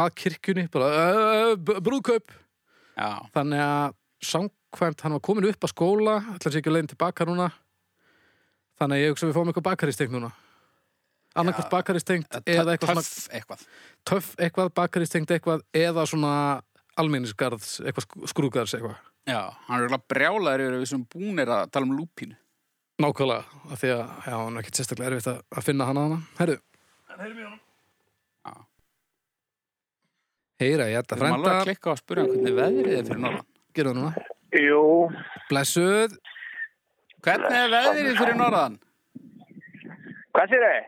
að kirkjunni, bara "Ö, b- brúðkaup,
Já.
þannig að samkvæmt hann var komin upp að skóla, ætla sér ekki á leiðin tilbaka núna, þannig að ég hugsa að við fáum eitthvað bakaristengt núna, annarkvæmt bakaristengt eða eitthvað svona
Töff eitthvað.
töff eitthvað, bakaristengt eitthvað eða svona almenningsgarðs, eitthvað skrú- skrúðgarðs eitthvað.
Já, hann er eiginlega brjálaður yfir að við sem búnir að tala um lúpínu.
Nákvæmlega, af því að, já, hann er ekkert sérstaklega erfitt að, að finna hana hana. Herru.
Já.
Heyra, ég ætla
Það er alveg að
frænda,
klikka á að spyrja hann hvernig veðrið er fyrir norðan.
gerðu það núna.
Jú,
Blessuð,
Hvernig er veðrið fyrir norðan?
hvað sér þið?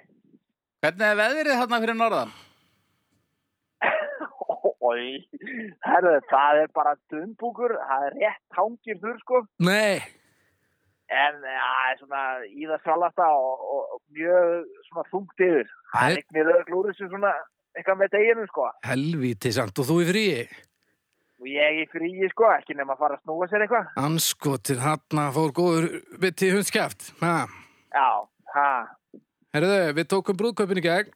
Hvernig er veðrið þarna fyrir norðan?
Ói, herðu, það er bara dumbúkur, það er rétt hangir þurr sko,
nei,
en ja, það er svona í það svalasta og, og mjög svona þungt yfir. Það
Hæ?
er ekki mjög löglúrið sem svona eitthvað með deginum sko.
helvíti samt og þú í fríi.
Og ég í fríi sko, ekki nema að fara að snúa sér eitthvað.
Anskotin hana fór góður biti hundskjaft. Ha.
Já, ha,
Herruðu, við tókum brúðkaupin í gegn.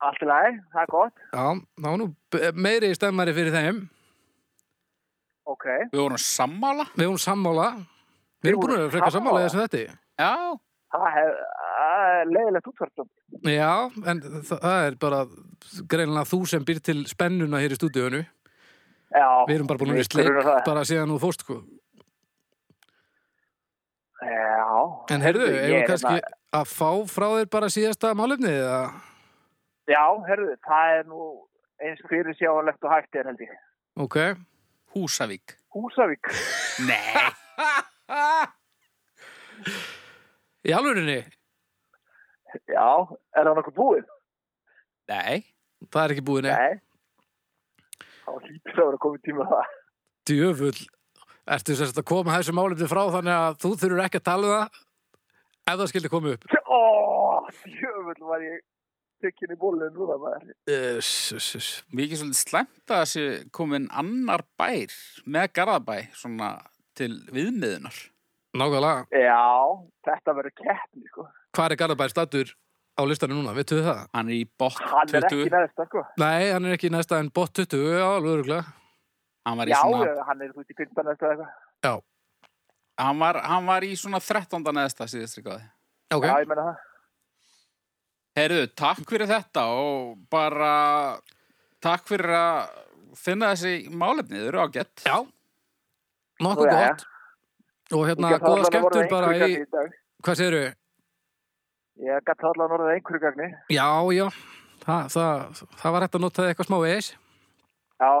allt í lagi, það er gott,
Já, þá var nú be- meiri stemmari fyrir þeim.
ok.
Við vorum sammála?
Við vorum sammála. Við erum búin að vera frekar sammála í þessum þetta.
Já.
Það hef- það er leiðilegt útvartum.
Já, en þa- það er bara greinlega þú sem býr til spennuna hér í stúdíunum.
Já.
Við erum bara búin að vera í
við
sleik
erum það.
bara síðan þú fórst. Sko.
Já.
En heyrðu,
Ég
eigum við
er
kannski
hérna-
að fá frá þér bara síðasta málefni eða?
Já, heyrðu, það er nú eins fyrir sjáanlegt og hægt er held ég.
Ok.
Húsavík.
Húsavík.
Nei.
Í alvörinni,
Já, er það nokkuð búið?
Nei.
það er ekki búið neitt.
Nei. Þá hlýtur það að vera komið tíma það.
Djöfull, ertu sérst að koma þessu málefni frá þannig að þú þurfur ekki að tala um það ef það skildi komið upp.
Ó, jöfull var ég tekinn í bólun núna maður.
Uh,
Mér ekki svolítið slæmt að þessi komin annar bær með Garðabæ svona til viðmiðunar.
Nákvæmlega,
Já, þetta verður keppni, sko.
hvað er Garðabær statur á listanum núna, vittu þið það?
Hann er í bótt
Hann er
20.
ekki næsta, sko.
Nei, hann er ekki næsta en bot 20, já, alveg öruglega.
Hann var í
Já,
svona,
hann er út í fyrsta næsta eða eitthvað.
Já,
hann var, hann var í svona 13. neðsta síðustri góði.
ok,
Já, ég menna það.
Herðu, takk fyrir þetta og bara takk fyrir að finna þessi málefni. Þau eru ágætt.
já, nokkuð
Nú, jæja.
gott. Og hérna,
Ég gat
góða
allan að
skemmtun
orða
bara
einhverju
í,
gagni dag.
hvað segirðu?
Ég gæti allan orðið einhverju gagni.
Já, já, það, það, það var hægt að nota eitthvað smá eis.
Já,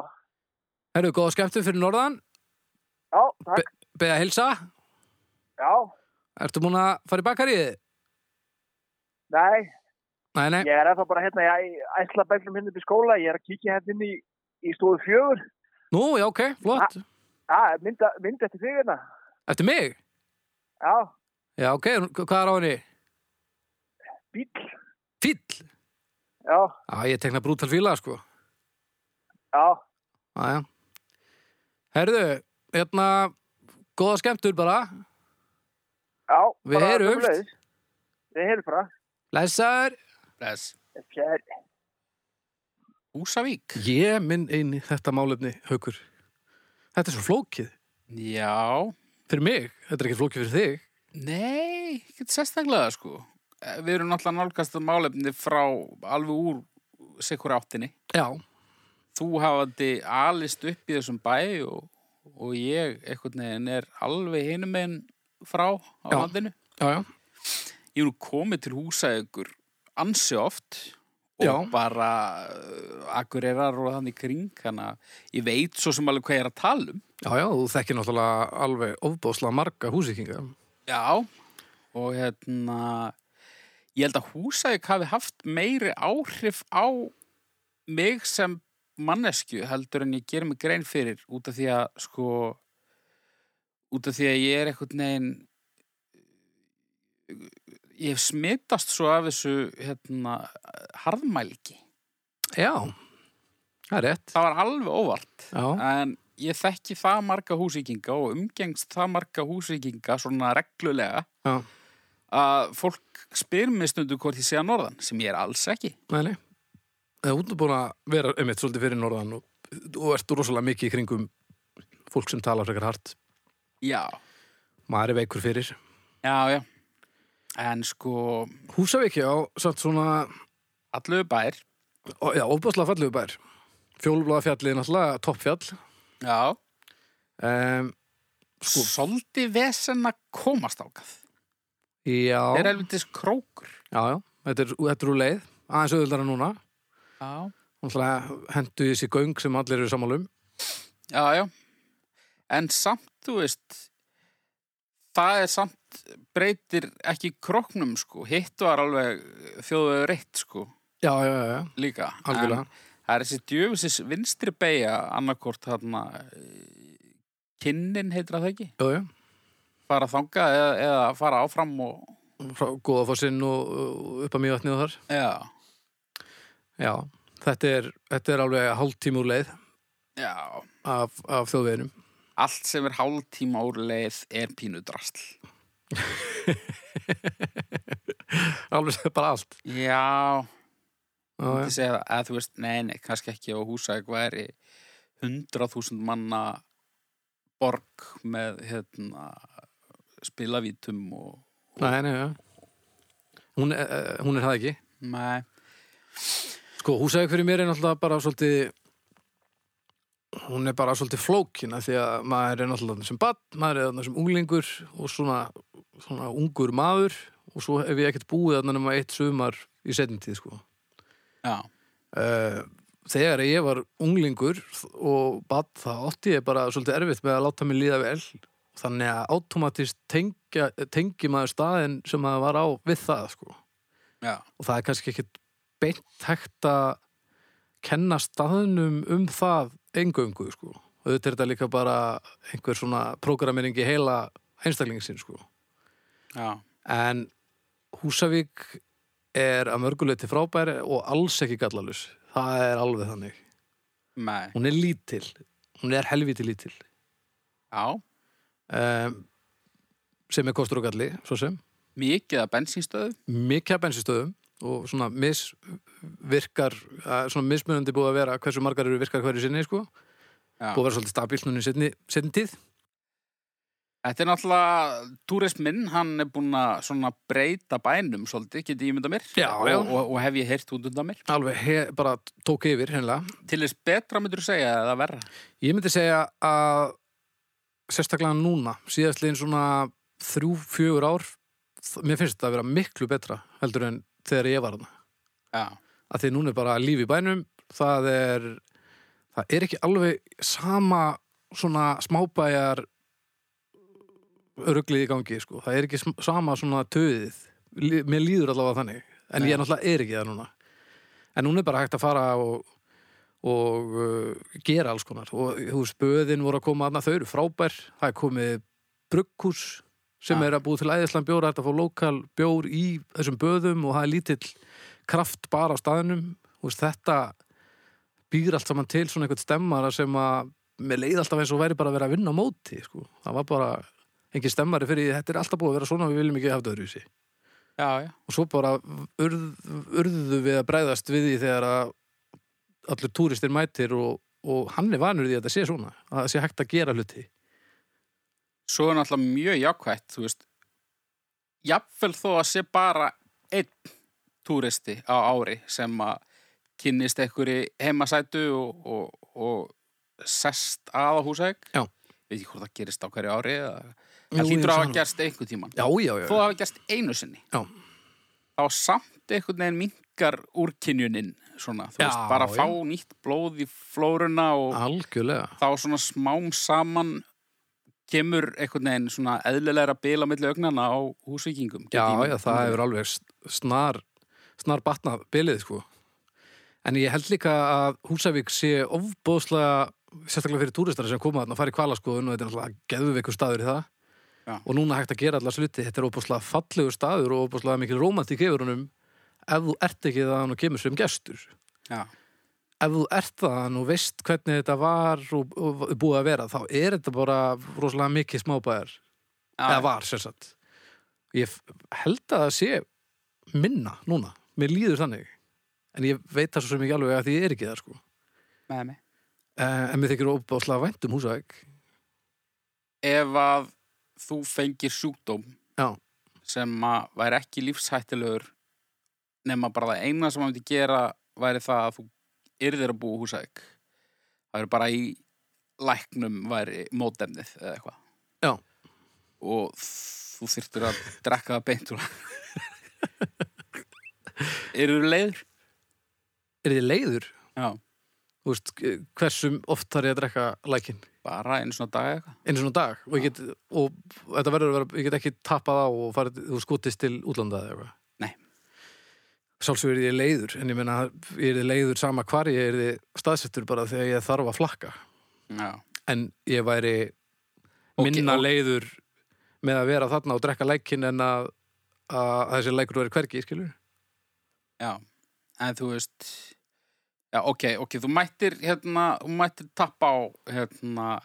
Herru, góða skemmtun fyrir norðan,
já, takk.
beða hilsa,
Já,
ertu múin að fara í bakaríði?
nei,
Nei, nei,
ég er eftir bara hérna, ég ætla bæklum hérna upp í skóla, ég er að kíkja hérna inn í, í stóðu fjögur.
nú, já, ok, flott.
Já, mynd, mynd eftir þig hérna.
Ertu mig?
Já,
Já, ok, hvað er á henni?
bíl.
Fýll?
Já,
Já, ég tekna brútal fíla, sko.
já,
Aðja. Herðu, hérna, góða skemmtur bara.
já.
Við
bara
heyrumst.
sömuleiðis. Við heyrum bara.
Læsar.
Bless.
Fjær.
Húsavík.
Ég minn eini þetta málefni, haukur. Þetta er svo flókið.
Já.
Fyrir mig, þetta er ekki flókið fyrir þig.
Nei, ekkert sérstaklega sko. Eh, Við erum náttúrulega nálgast að málefni frá alveg úr sikkur áttinni.
Já,
Þú hafandi alist upp í þessum bæ og, og ég einhvern veginn er alveg hinum meginn frá á
Já.
landinu.
já, já.
Ég er nú komið til húsa ykkur ansi oft og
Já.
bara uh, akureyrar og þannig kring þannig að ég veit svo sem alveg hvað ég er að tala um
Já, já, þú þekkir náttúrulega alveg ofbóðslega marga húsíkinga.
Já, og hérna ég held að Húsæk hafi haft meiri áhrif á mig sem mannesku heldur en ég ger mig grein fyrir út af því að sko út af því að ég er eitthvað negin ég hef smitast svo af þessu hérna harðmælgi
Já, það er rétt.
það var alveg óvart
Já,
en ég þekki það marga húsíkinga og umgengst það marga húsíkinga svona reglulega
já,
að fólk spyr mér stundu hvort ég sé að norðan, sem ég er alls ekki.
næli. Það er út búin að vera einmitt svolítið fyrir norðan og, og ert rosalega mikið í kringum fólk sem talar frekar hart.
Já.
Maður er veikur fyrir.
Já, já. En sko,
Húsavík, já, samt svona,
allu bær,
ó, já, ofbóðslega fallegu bær. Fjólublaða fjallið er náttúrulega toppfjall.
já,
Um,
sko, svolítið vesen að komast ákað.
já,
Það er
já,
elvitis krókur.
já, þetta er, þetta er úr leið. Aðeins auðvöldara núna.
Já.
Náttúrulega hendu í þessi göng sem allir eru um. sammálum.
Já, já. En samt, þú veist, það er samt, breytir ekki króknum, sko. Hitt var alveg þjóðvegur reitt, sko,
Já, já, já, já.
líka.
Algjörlega.
En það er þessi djöfusis vinstri beigja, annarkort þarna, eh, kinnin heitir það ekki?
Jú, jú.
fara þangað eða, eða fara áfram og...
frá Góðafossinn og og upp að mjög vatnið og þar.
Já.
Já, þetta er, þetta er alveg hálftíma úr leið
Já.
af, af þjóðveginum.
Allt sem er hálftíma úr leið er pínudrasl.
Alveg bara allt.
Já.
Já,
Ég
já.
myndi segja það, eða þú veist, nei, nei, kannski ekki á húsæk væri 100.000 manna borg með, hérna, spilavítum og...
Nei, nei, já. Hún, er- eh, hún er það ekki.
Nei.
Sko, húsæk fyrir mér er náttúrulega bara svolítið hún er bara svolítið flókina því að maður er náttúrulega þarna sem barn, maður er þarna sem unglingur og svona, svona ungur maður og svo hef ég ekkert búið þarna nema eitt sumar í setjum tíð, sko.
Já.
Eh, þegar ég var unglingur og bad það átti ég bara svolítið erfitt með að láta mig líða vel þannig að automatist tengja, tengi maður staðin sem maður var á við það sko.
Já.
og það er kannski ekkit beint hægt að kenna staðnum um það engöngu sko. og þetta er þetta líka bara einhver svona prógramering í heila einstaklingsinn sko.
Já.
en Húsavík er að mörguleiti frábæri og alls ekki gallalus það er alveg þannig
Nei.
hún er lítil hún er helviti lítil
Já.
um, sem er kostur og galli svo sem,
Mikið að bensinstöðu.
mikið af bensinstöðum og svona misvirkar eh, svona mismunandi búið að vera hversu margar eru virkar hverju sinni sko
Já.
búið að vera svolítið stabíl núna í setni, setni tíð
Þetta er náttúrulega, túrisminn, hann er búinn að svona breyta bænum svolítið, geti ég mynda mér.
Já,
og,
já.
Og, og hef ég heyrt út undan mér.
alveg he, bara tók yfir hennilega
Til þess betra myndur þú segja eða verra?
ég myndi segja að sérstaklega núna, síðastliðin svona þrjú, fjögur ár þ- mér finnst þetta að vera miklu betra heldur en þegar ég var þarna
Já,
að því núna er bara líf í bænum það er það er ekki alveg sama svona smábæjar ruglið í gangi sko. það er ekki sm- sama svona töðið Lí- mér líður allavega þannig en
Nei.
ég náttúrulega er ekki það núna en núna er bara hægt að fara og, og uh, gera alls konar og þú veist, böðin voru að koma aðna þau eru frábær, það er komið brugghús sem
Ja.
er að búið til æðislan bjór, það er að fá lokal bjór í þessum böðum og það er lítill kraft bara á staðnum Þú veist, þetta býr allt saman til svona einhvern stemmara sem að mér leið alltaf eins og væri bara að vera að vinna á móti sko. það var bara engin stemmari fyrir þetta er alltaf búið að vera svona við viljum ekki hafa þetta öðru í sig
já, já.
og svo bara urð, urðu við að bregðast við því þegar að allir túristir mætir og, og hann er vanur því að þetta sé svona að það sé hægt að gera hluti
Svo er náttúrulega mjög jákvætt, þú veist. Jafnvel þó að sé bara einn túristi á ári sem að kynnist einhverju heimasætu og, og, og sest að á húsæk.
Já.
Veit ekki hvort það gerist á hverju ári eða...
Jú,
Það
ég
hlýtur á
hugsa
að gerst einhvern tíman.
já, já, já,
Þó að hafa gerst einu sinni.
Já.
Þá samt einhvern veginn minkar mingar úrkynjunin svona, þú
Já,
veist, bara
já.
fá nýtt blóð í flóruna og
Algjörlega.
þá svona smám saman kemur einhvern veginn svona eðlilegra bila milli augnana á húsvíkingum. get
Já,
ég
já,
ímyndað
það
mér.
hefur alveg s- snar, snar batnað bilið, sko. En ég held líka að Húsavík sé ofbóðslega, sérstaklega fyrir túristara sem koma þarna að fara í kvalaskoðun og þetta er náttúrulega geðveikur staður í það.
Já.
Og núna hægt að gera allar sluti, þetta er ofbóðslega fallegur staður og ofbóðslega mikil rómantík yfir honum ef þú ert ekki það og kemur sem gestur.
Já,
ef þú ert það og veist hvernig þetta var og, og búið að vera þá er þetta bara rosalega mikið smábæðar eða var sérsagt ég f- held að það sé minna núna, mér líður þannig en ég veit það svo sem ekki alveg að því ég er ekki það sko
með mig.
eh, en mér þykir óbáslega vænt um húsæk
Ef að þú fengir sjúkdóm
Já.
sem að væri ekki lífshættilegur nema bara það eina sem að myndi gera væri það að þú yrðir að búa í húsæk. Það er bara í læknum væri mótemnið eða eitthvað.
Já.
Og þú þyrftir að drekka það beint úr. Eru þú leiður?
er þið leiður,
Já.
þú veist hversum oft þarf ég að drekka lækin
Bara einu svona dag eða eitthvað.
einu svona dag og ég get, og þetta verður að vera, ég get ekki tappað á og farið, þú skotist til útlanda eða eitthvað.
Nei.
Sjálfsögur er ég leiður, en ég meina, ég er leiður sama hvar ég er staðsettur bara þegar ég þarf að flakka.
Já.
En ég væri
Ok,
minna
og-
leiður með að vera þarna og drekka lækin en að, að þessi lækur veri hvergi, skilur.
Já, en þú veist Já, ok, ok, þú mættir hérna, þú mættir tappa á hérna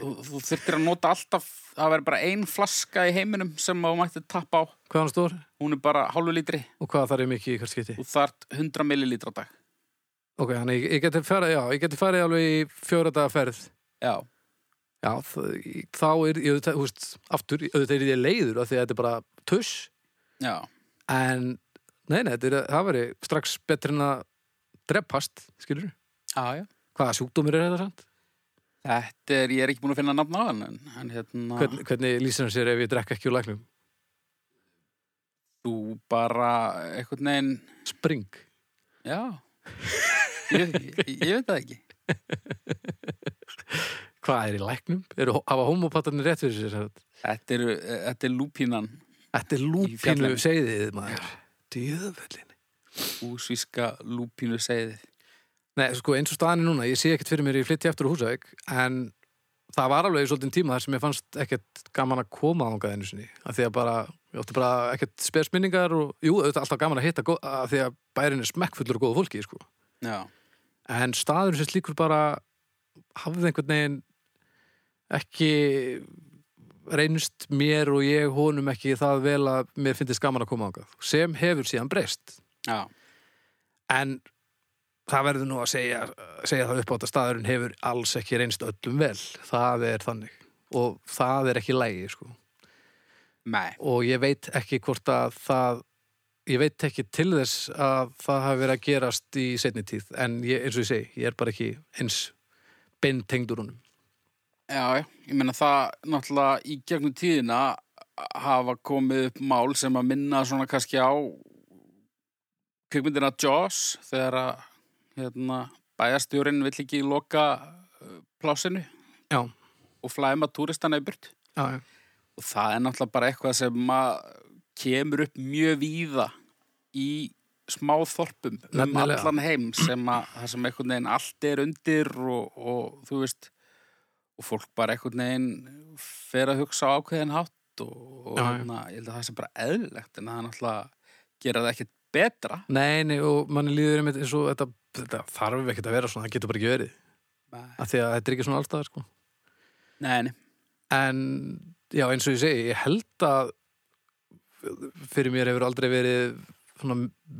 þú, þú þurftir að nota alltaf það verður bara ein flaska í heiminum sem þú mættir tappa á,
Hvað hann stór
hún er bara hálfu lítri
og hvað þarf ég mikið í hvert skipti?
og þart 100 millilítra á dag
Ok, þannig ég, ég geti farið, já, ég geti farið alveg í fjóra daga ferð.
Já,
Já, það- í- þá er, ég, auðvitað- þú veist, aftur, auðvitað er ég leiður af því að þetta er bara tuss.
já,
En, nei, nei, þetta er, það veri strax betri en að dreppast, skilur
já, já
Hvaða sjúkdómur er þetta samt?
Þetta er, ég er ekki búin að finna nafn á hann en, en hérna,
Hvern, hvernig lýsir hann sér ef ég drekka ekki úr læknum?
þú bara einhvern veginn,
Spring.
já ég, ég, ég veit það ekki
Hvað er í læknum? Eru, hafa homopatarnir rétt fyrir sér? sem sagt?
Þetta er, þetta er lúpínan
Þetta er lúpínu
fjallinu.
segðið, maður. Djöðvöldin.
úsvíska lúpínu segðið
Nei, sko, eins og staðan er núna, ég sé ekkert fyrir mér ég flytti eftir á Húsavík, en það var alveg í svolítinn tíma þar sem ég fannst ekkert gaman að koma ángað einu sinni, af því að bara, ég átti bara ekkert spesminningar og, jú, auðvitað alltaf gaman að hitta, gó- af því að bærin er smekkfullur og góðu fólki, sko.
Já
en staðurinn sem slíkur bara hafði einhvern veginn ekki reynst mér og ég honum ekki það vel að mér finnist gaman að koma ángað sem hefur síðan breyst
Já,
en það verður nú að segja, segja það upp átt að staðurinn hefur alls ekki reynst öllum vel það er þannig og það er ekki lægi sko
nei,
og ég veit ekki hvort að það ég veit ekki til þess að það hafi verið að gerast í setni tíð en ég, eins og ég segi, ég er bara ekki eins beintengdur honum
já, já. ég meina það náttúrulega í gegnum tíðina hafa komið upp mál sem að minna svona kannski á kvikmyndina Jaws þegar að hérna, bæjastjórin vill ekki loka uh, plásinu
Já.
og flæma túristana í burt
já, já.
og það er náttúrulega bara eitthvað sem að kemur upp mjög víða í smáþorpum um
Nefnilega.
allan heim sem að það sem einhvern veginn allt er undir og, og þú veist og fólk bara einhvern veginn fer að hugsa á ákveðin hátt og, og
Já, já.
hérna, ég held að það sé bara eðlilegt en það er náttúrulega gera það ekkert betra
Nei, nei, og manni líður einmitt eins og þetta, þetta þarf ekkert að vera svona, það getur bara ekki verið af því að þetta er ekki svona allstaðar sko
Nei, nei,
en já, eins og ég segi, ég held að fyrir mér hefur aldrei verið svona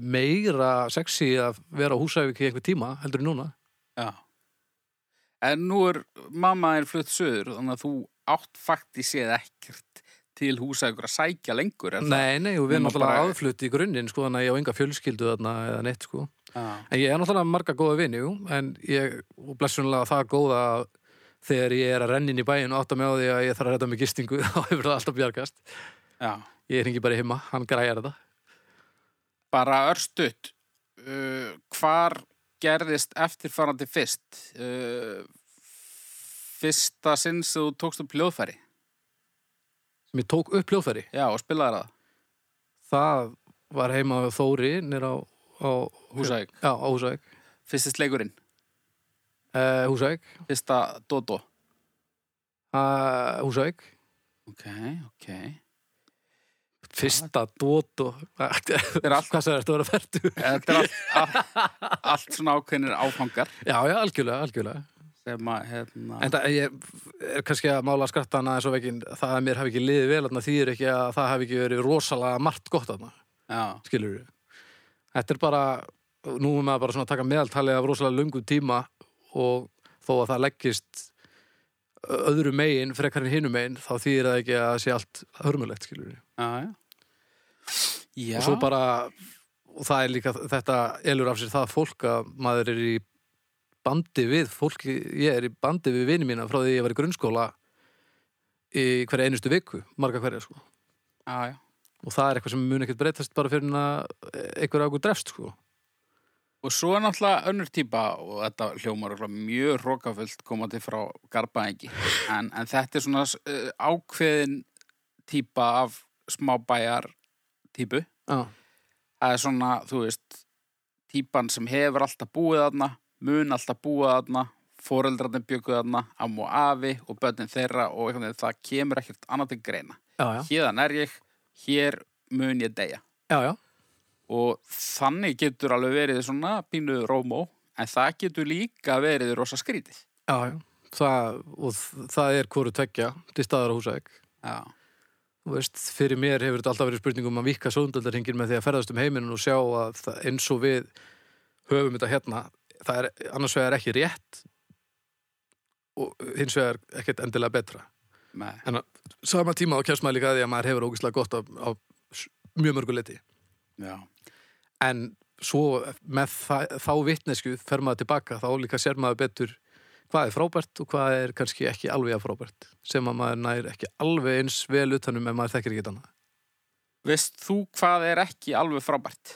meira sexy að vera á húsæfik í einhver tíma, heldur en núna
já En nú er mamma er flutt söður þannig að þú átt fakti séð ekkert til húsa ykkur að sækja lengur er það?
Nei, nei, og við erum
Nema
náttúrulega
bara-
aðflutt í grunninn, sko, þannig að ég á enga fjölskyldu þarna eða neitt, sko.
Já.
En ég er náttúrulega marga góða vini, jú, en ég, og blessunlega það góða að þegar ég er að renna inn í bæin og átta mig á því að ég þarf að redda mig gistingu, þá hefur það alltaf bjargast.
Já,
Ég hringi bara í heima, hann græjar þetta.
bara örstutt uh, hvar gerðist eftirfarandi fyrst uh, fyrsta sinn sem þú tókst upp hljóðfæri
sem ég tók upp hljóðfæri
já og spilaði það
það var heima á Þóri nýr á, á
Húsæk.
já, á Húsæk
fyrsti sleikurinn,
uh, Húsæk
fyrsta Dodo
uh, Húsæk
ok, ok
fyrsta dót og
er allt-
hvað sagði þetta að vera færtu
þetta er allt, allt, allt svona ákveðnir áfangar
já, já, algjörlega, algjörlega
sem að hérna,
en það ég er kannski að mála skrattana eins og veginn það að mér hafi ekki liðið vel þarna þýðir ekki að það hafi ekki verið rosalega margt gott þarna
já,
skilur við. Þetta er bara, nú er maður bara svona að taka meðaltalið af rosalega lungu tíma og þó að það leggist öðru megin, frekar en hinu megin, þá þýðir það ekki að það sé allt hörmulegt, skilur við.
já, já. já.
Og svo bara, og það er líka, þetta elur af sér það fólk að maður er í bandi við, fólki, ég er í bandi við vini mína frá því ég var í grunnskóla í hverja einustu viku, marga hverja, sko.
já, já.
Og það er eitthvað sem mun ekkert breytast bara fyrir en að einhver águr drefst, sko.
Og svo er náttúrulega önnur típa og þetta hljómar örugglega mjög hrókafullt komandi frá garbaðingi. En, en þetta er svona uh, ákveðin típa af smábæjar típu.
Já,
Það er svona, þú veist, típan sem hefur alltaf búið þarna, mun alltaf búið þarna, foreldrarnir bjökuð þarna, amm og afi og börnin þeirra og einhvern veginn það kemur ekkert annað til greina.
já, já.
Hérðan er ég, hér mun ég deyja.
Já, já.
og þannig getur alveg verið svona pínu rómó en það getur líka verið rosa skrítið
Já, já. Það, og þ- það er hvoru tveggja til staðar á húsæk.
Já,
Þú veist, fyrir mér hefur þetta alltaf verið spurning um að vika sóndaldarhingin með því að ferðast um heiminn og sjá að það, eins og við höfum þetta hérna, það er annars vegar ekki rétt og hins vegar ekkert endilega betra.
með,
En að sama tíma þá kemst maður líka að því að maður hefur ógislega gott á, á s- mjög mörgu leti.
já,
en svo með það, þá vitnesku fer maður tilbaka, þá líka sér maður betur hvað er frábært og hvað er kannski ekki alveg að frábært, sem að maður nær ekki alveg eins vel utanum ef maður þekkir ekki annað.
Veist þú hvað er ekki alveg frábært?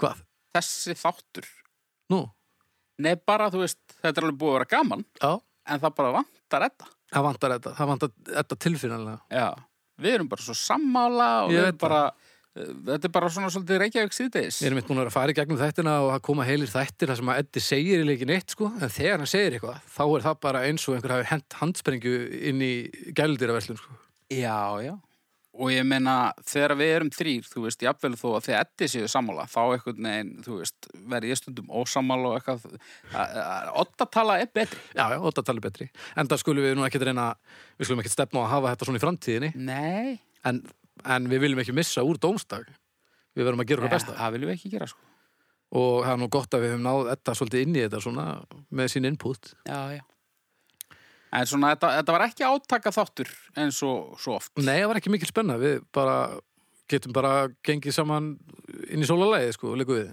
Hvað?
Þessi þáttur
Nú?
Nei, bara, þú veist, þetta er alveg búið að vera gaman
Já,
en það bara vantar þetta
það vantar þetta, það vantar þetta tilfinnilega.
Já, við erum bara svo sammála og
Ég
við
veit
erum bara eh, Þetta er bara svona svolítið Reykjavík síðdeis
Ég er mitt búin að vera að fara í gegnum þættina og að koma heilir þættir þar sem að Eddi segir í leikin eitt sko, en þegar hann segir eitthvað, þá er það bara eins og einhver hafi hent handsprengju inn í gæludýraverslun sko.
Já, já. Og ég meina, þegar við erum þrýr, þú veist, jafnvel þó að þið eddi séu sammála, þá einhvern veginn, þú veist, verði ég stundum ósammála og eitthvað. Ottatala er betri.
Já, já, og þetta tali betri. En það skulum við nú ekki reyna, við skulum ekki stefna á að hafa þetta svona í framtíðinni.
Nei.
en, en við viljum ekki missa úr dómstag við verðum að gera okkar besta
Það viljum við ekki gera, sko.
og það er nú gott að við höfum náð þetta svolítið inn í þetta svona með sín input
Já, já. En svona, þetta, þetta var ekki átaka þáttur eins og svo oft.
Nei, það var ekki mikil spenna, við bara getum bara gengið saman inn í sólalæði sko, líku við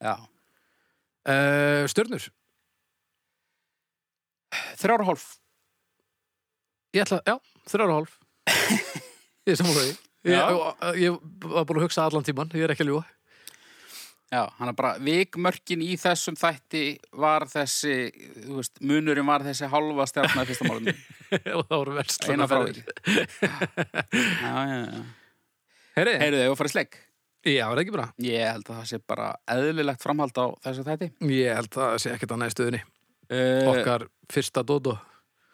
Já.
uh, Stjörnur,
Þrjár og hálf.
ég ætla, já, þrjára og hálf Ég er sammála því
Já.
Ég, ég, ég var búin að hugsa allan tíman, ég er ekki að ljúa
Já, hann er bara, vikmörkin í þessum þætti var þessi, þú veist, munurinn var þessi hálfa stjarnar fyrsta málunum.
og það voru verst
Eina frá því. Já, já, já.
Heyri,
Heyrðu, hefur farið sleik?
já, er það ekki bara
Ég held að það sé bara eðlilegt framhald á þessu þætti.
Ég held að það sé ekkert annað í stöðunni
Uh,
Okkar fyrsta dodo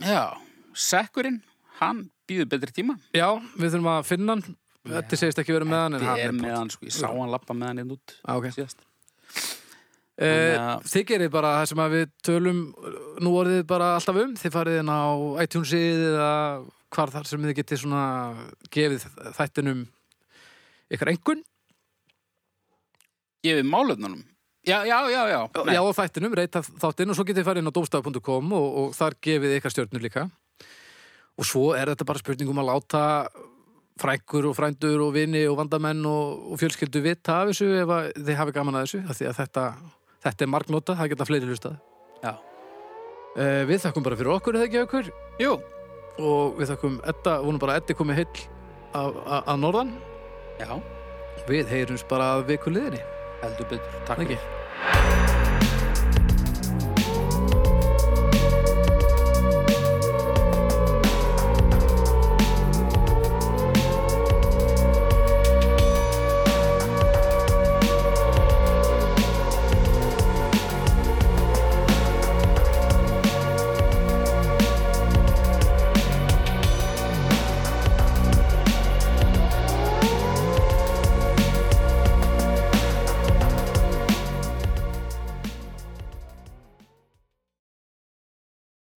Já, sekkurinn, hann býður betri tíma.
Já, við þurfum að finna hann Þetta segist ekki verið með hann en
Ég
hann
er
er
með hann, sko, ég sá hann lappa með hann einn út
Ah, okay.
síðast.
Eh,
Þannig að-
Þið gerir bara það sem að við tölum eh, nú orðið bara alltaf um þið farið inn á iTunesið eða hvar þar sem þið getið svona gefið þættinum ykkur engun
Gefið málöfnunum. Já, já, já, já. Nei,
Já, á þættinum, reyta þáttinn og svo getið farið inn á domstaf.com og, og þar gefið ykkar stjörnur líka og svo er þetta bara spurning um að láta frængur og frændur og vini og vandamenn og, og fjölskyldu vita af þessu ef að þið hafi gaman að þessu af því að þetta, þetta er margnota, það geta fleiri hlustað
Já.
uh, Við þakkum bara fyrir okkur, er það ekki okkur?
Jú,
og við þakkum Edda, vonum bara að Eddi komið heill að- að að norðan
já.
Við heyrums bara að viku liðinni.
heldur betur, takk
Ekki?
fyrir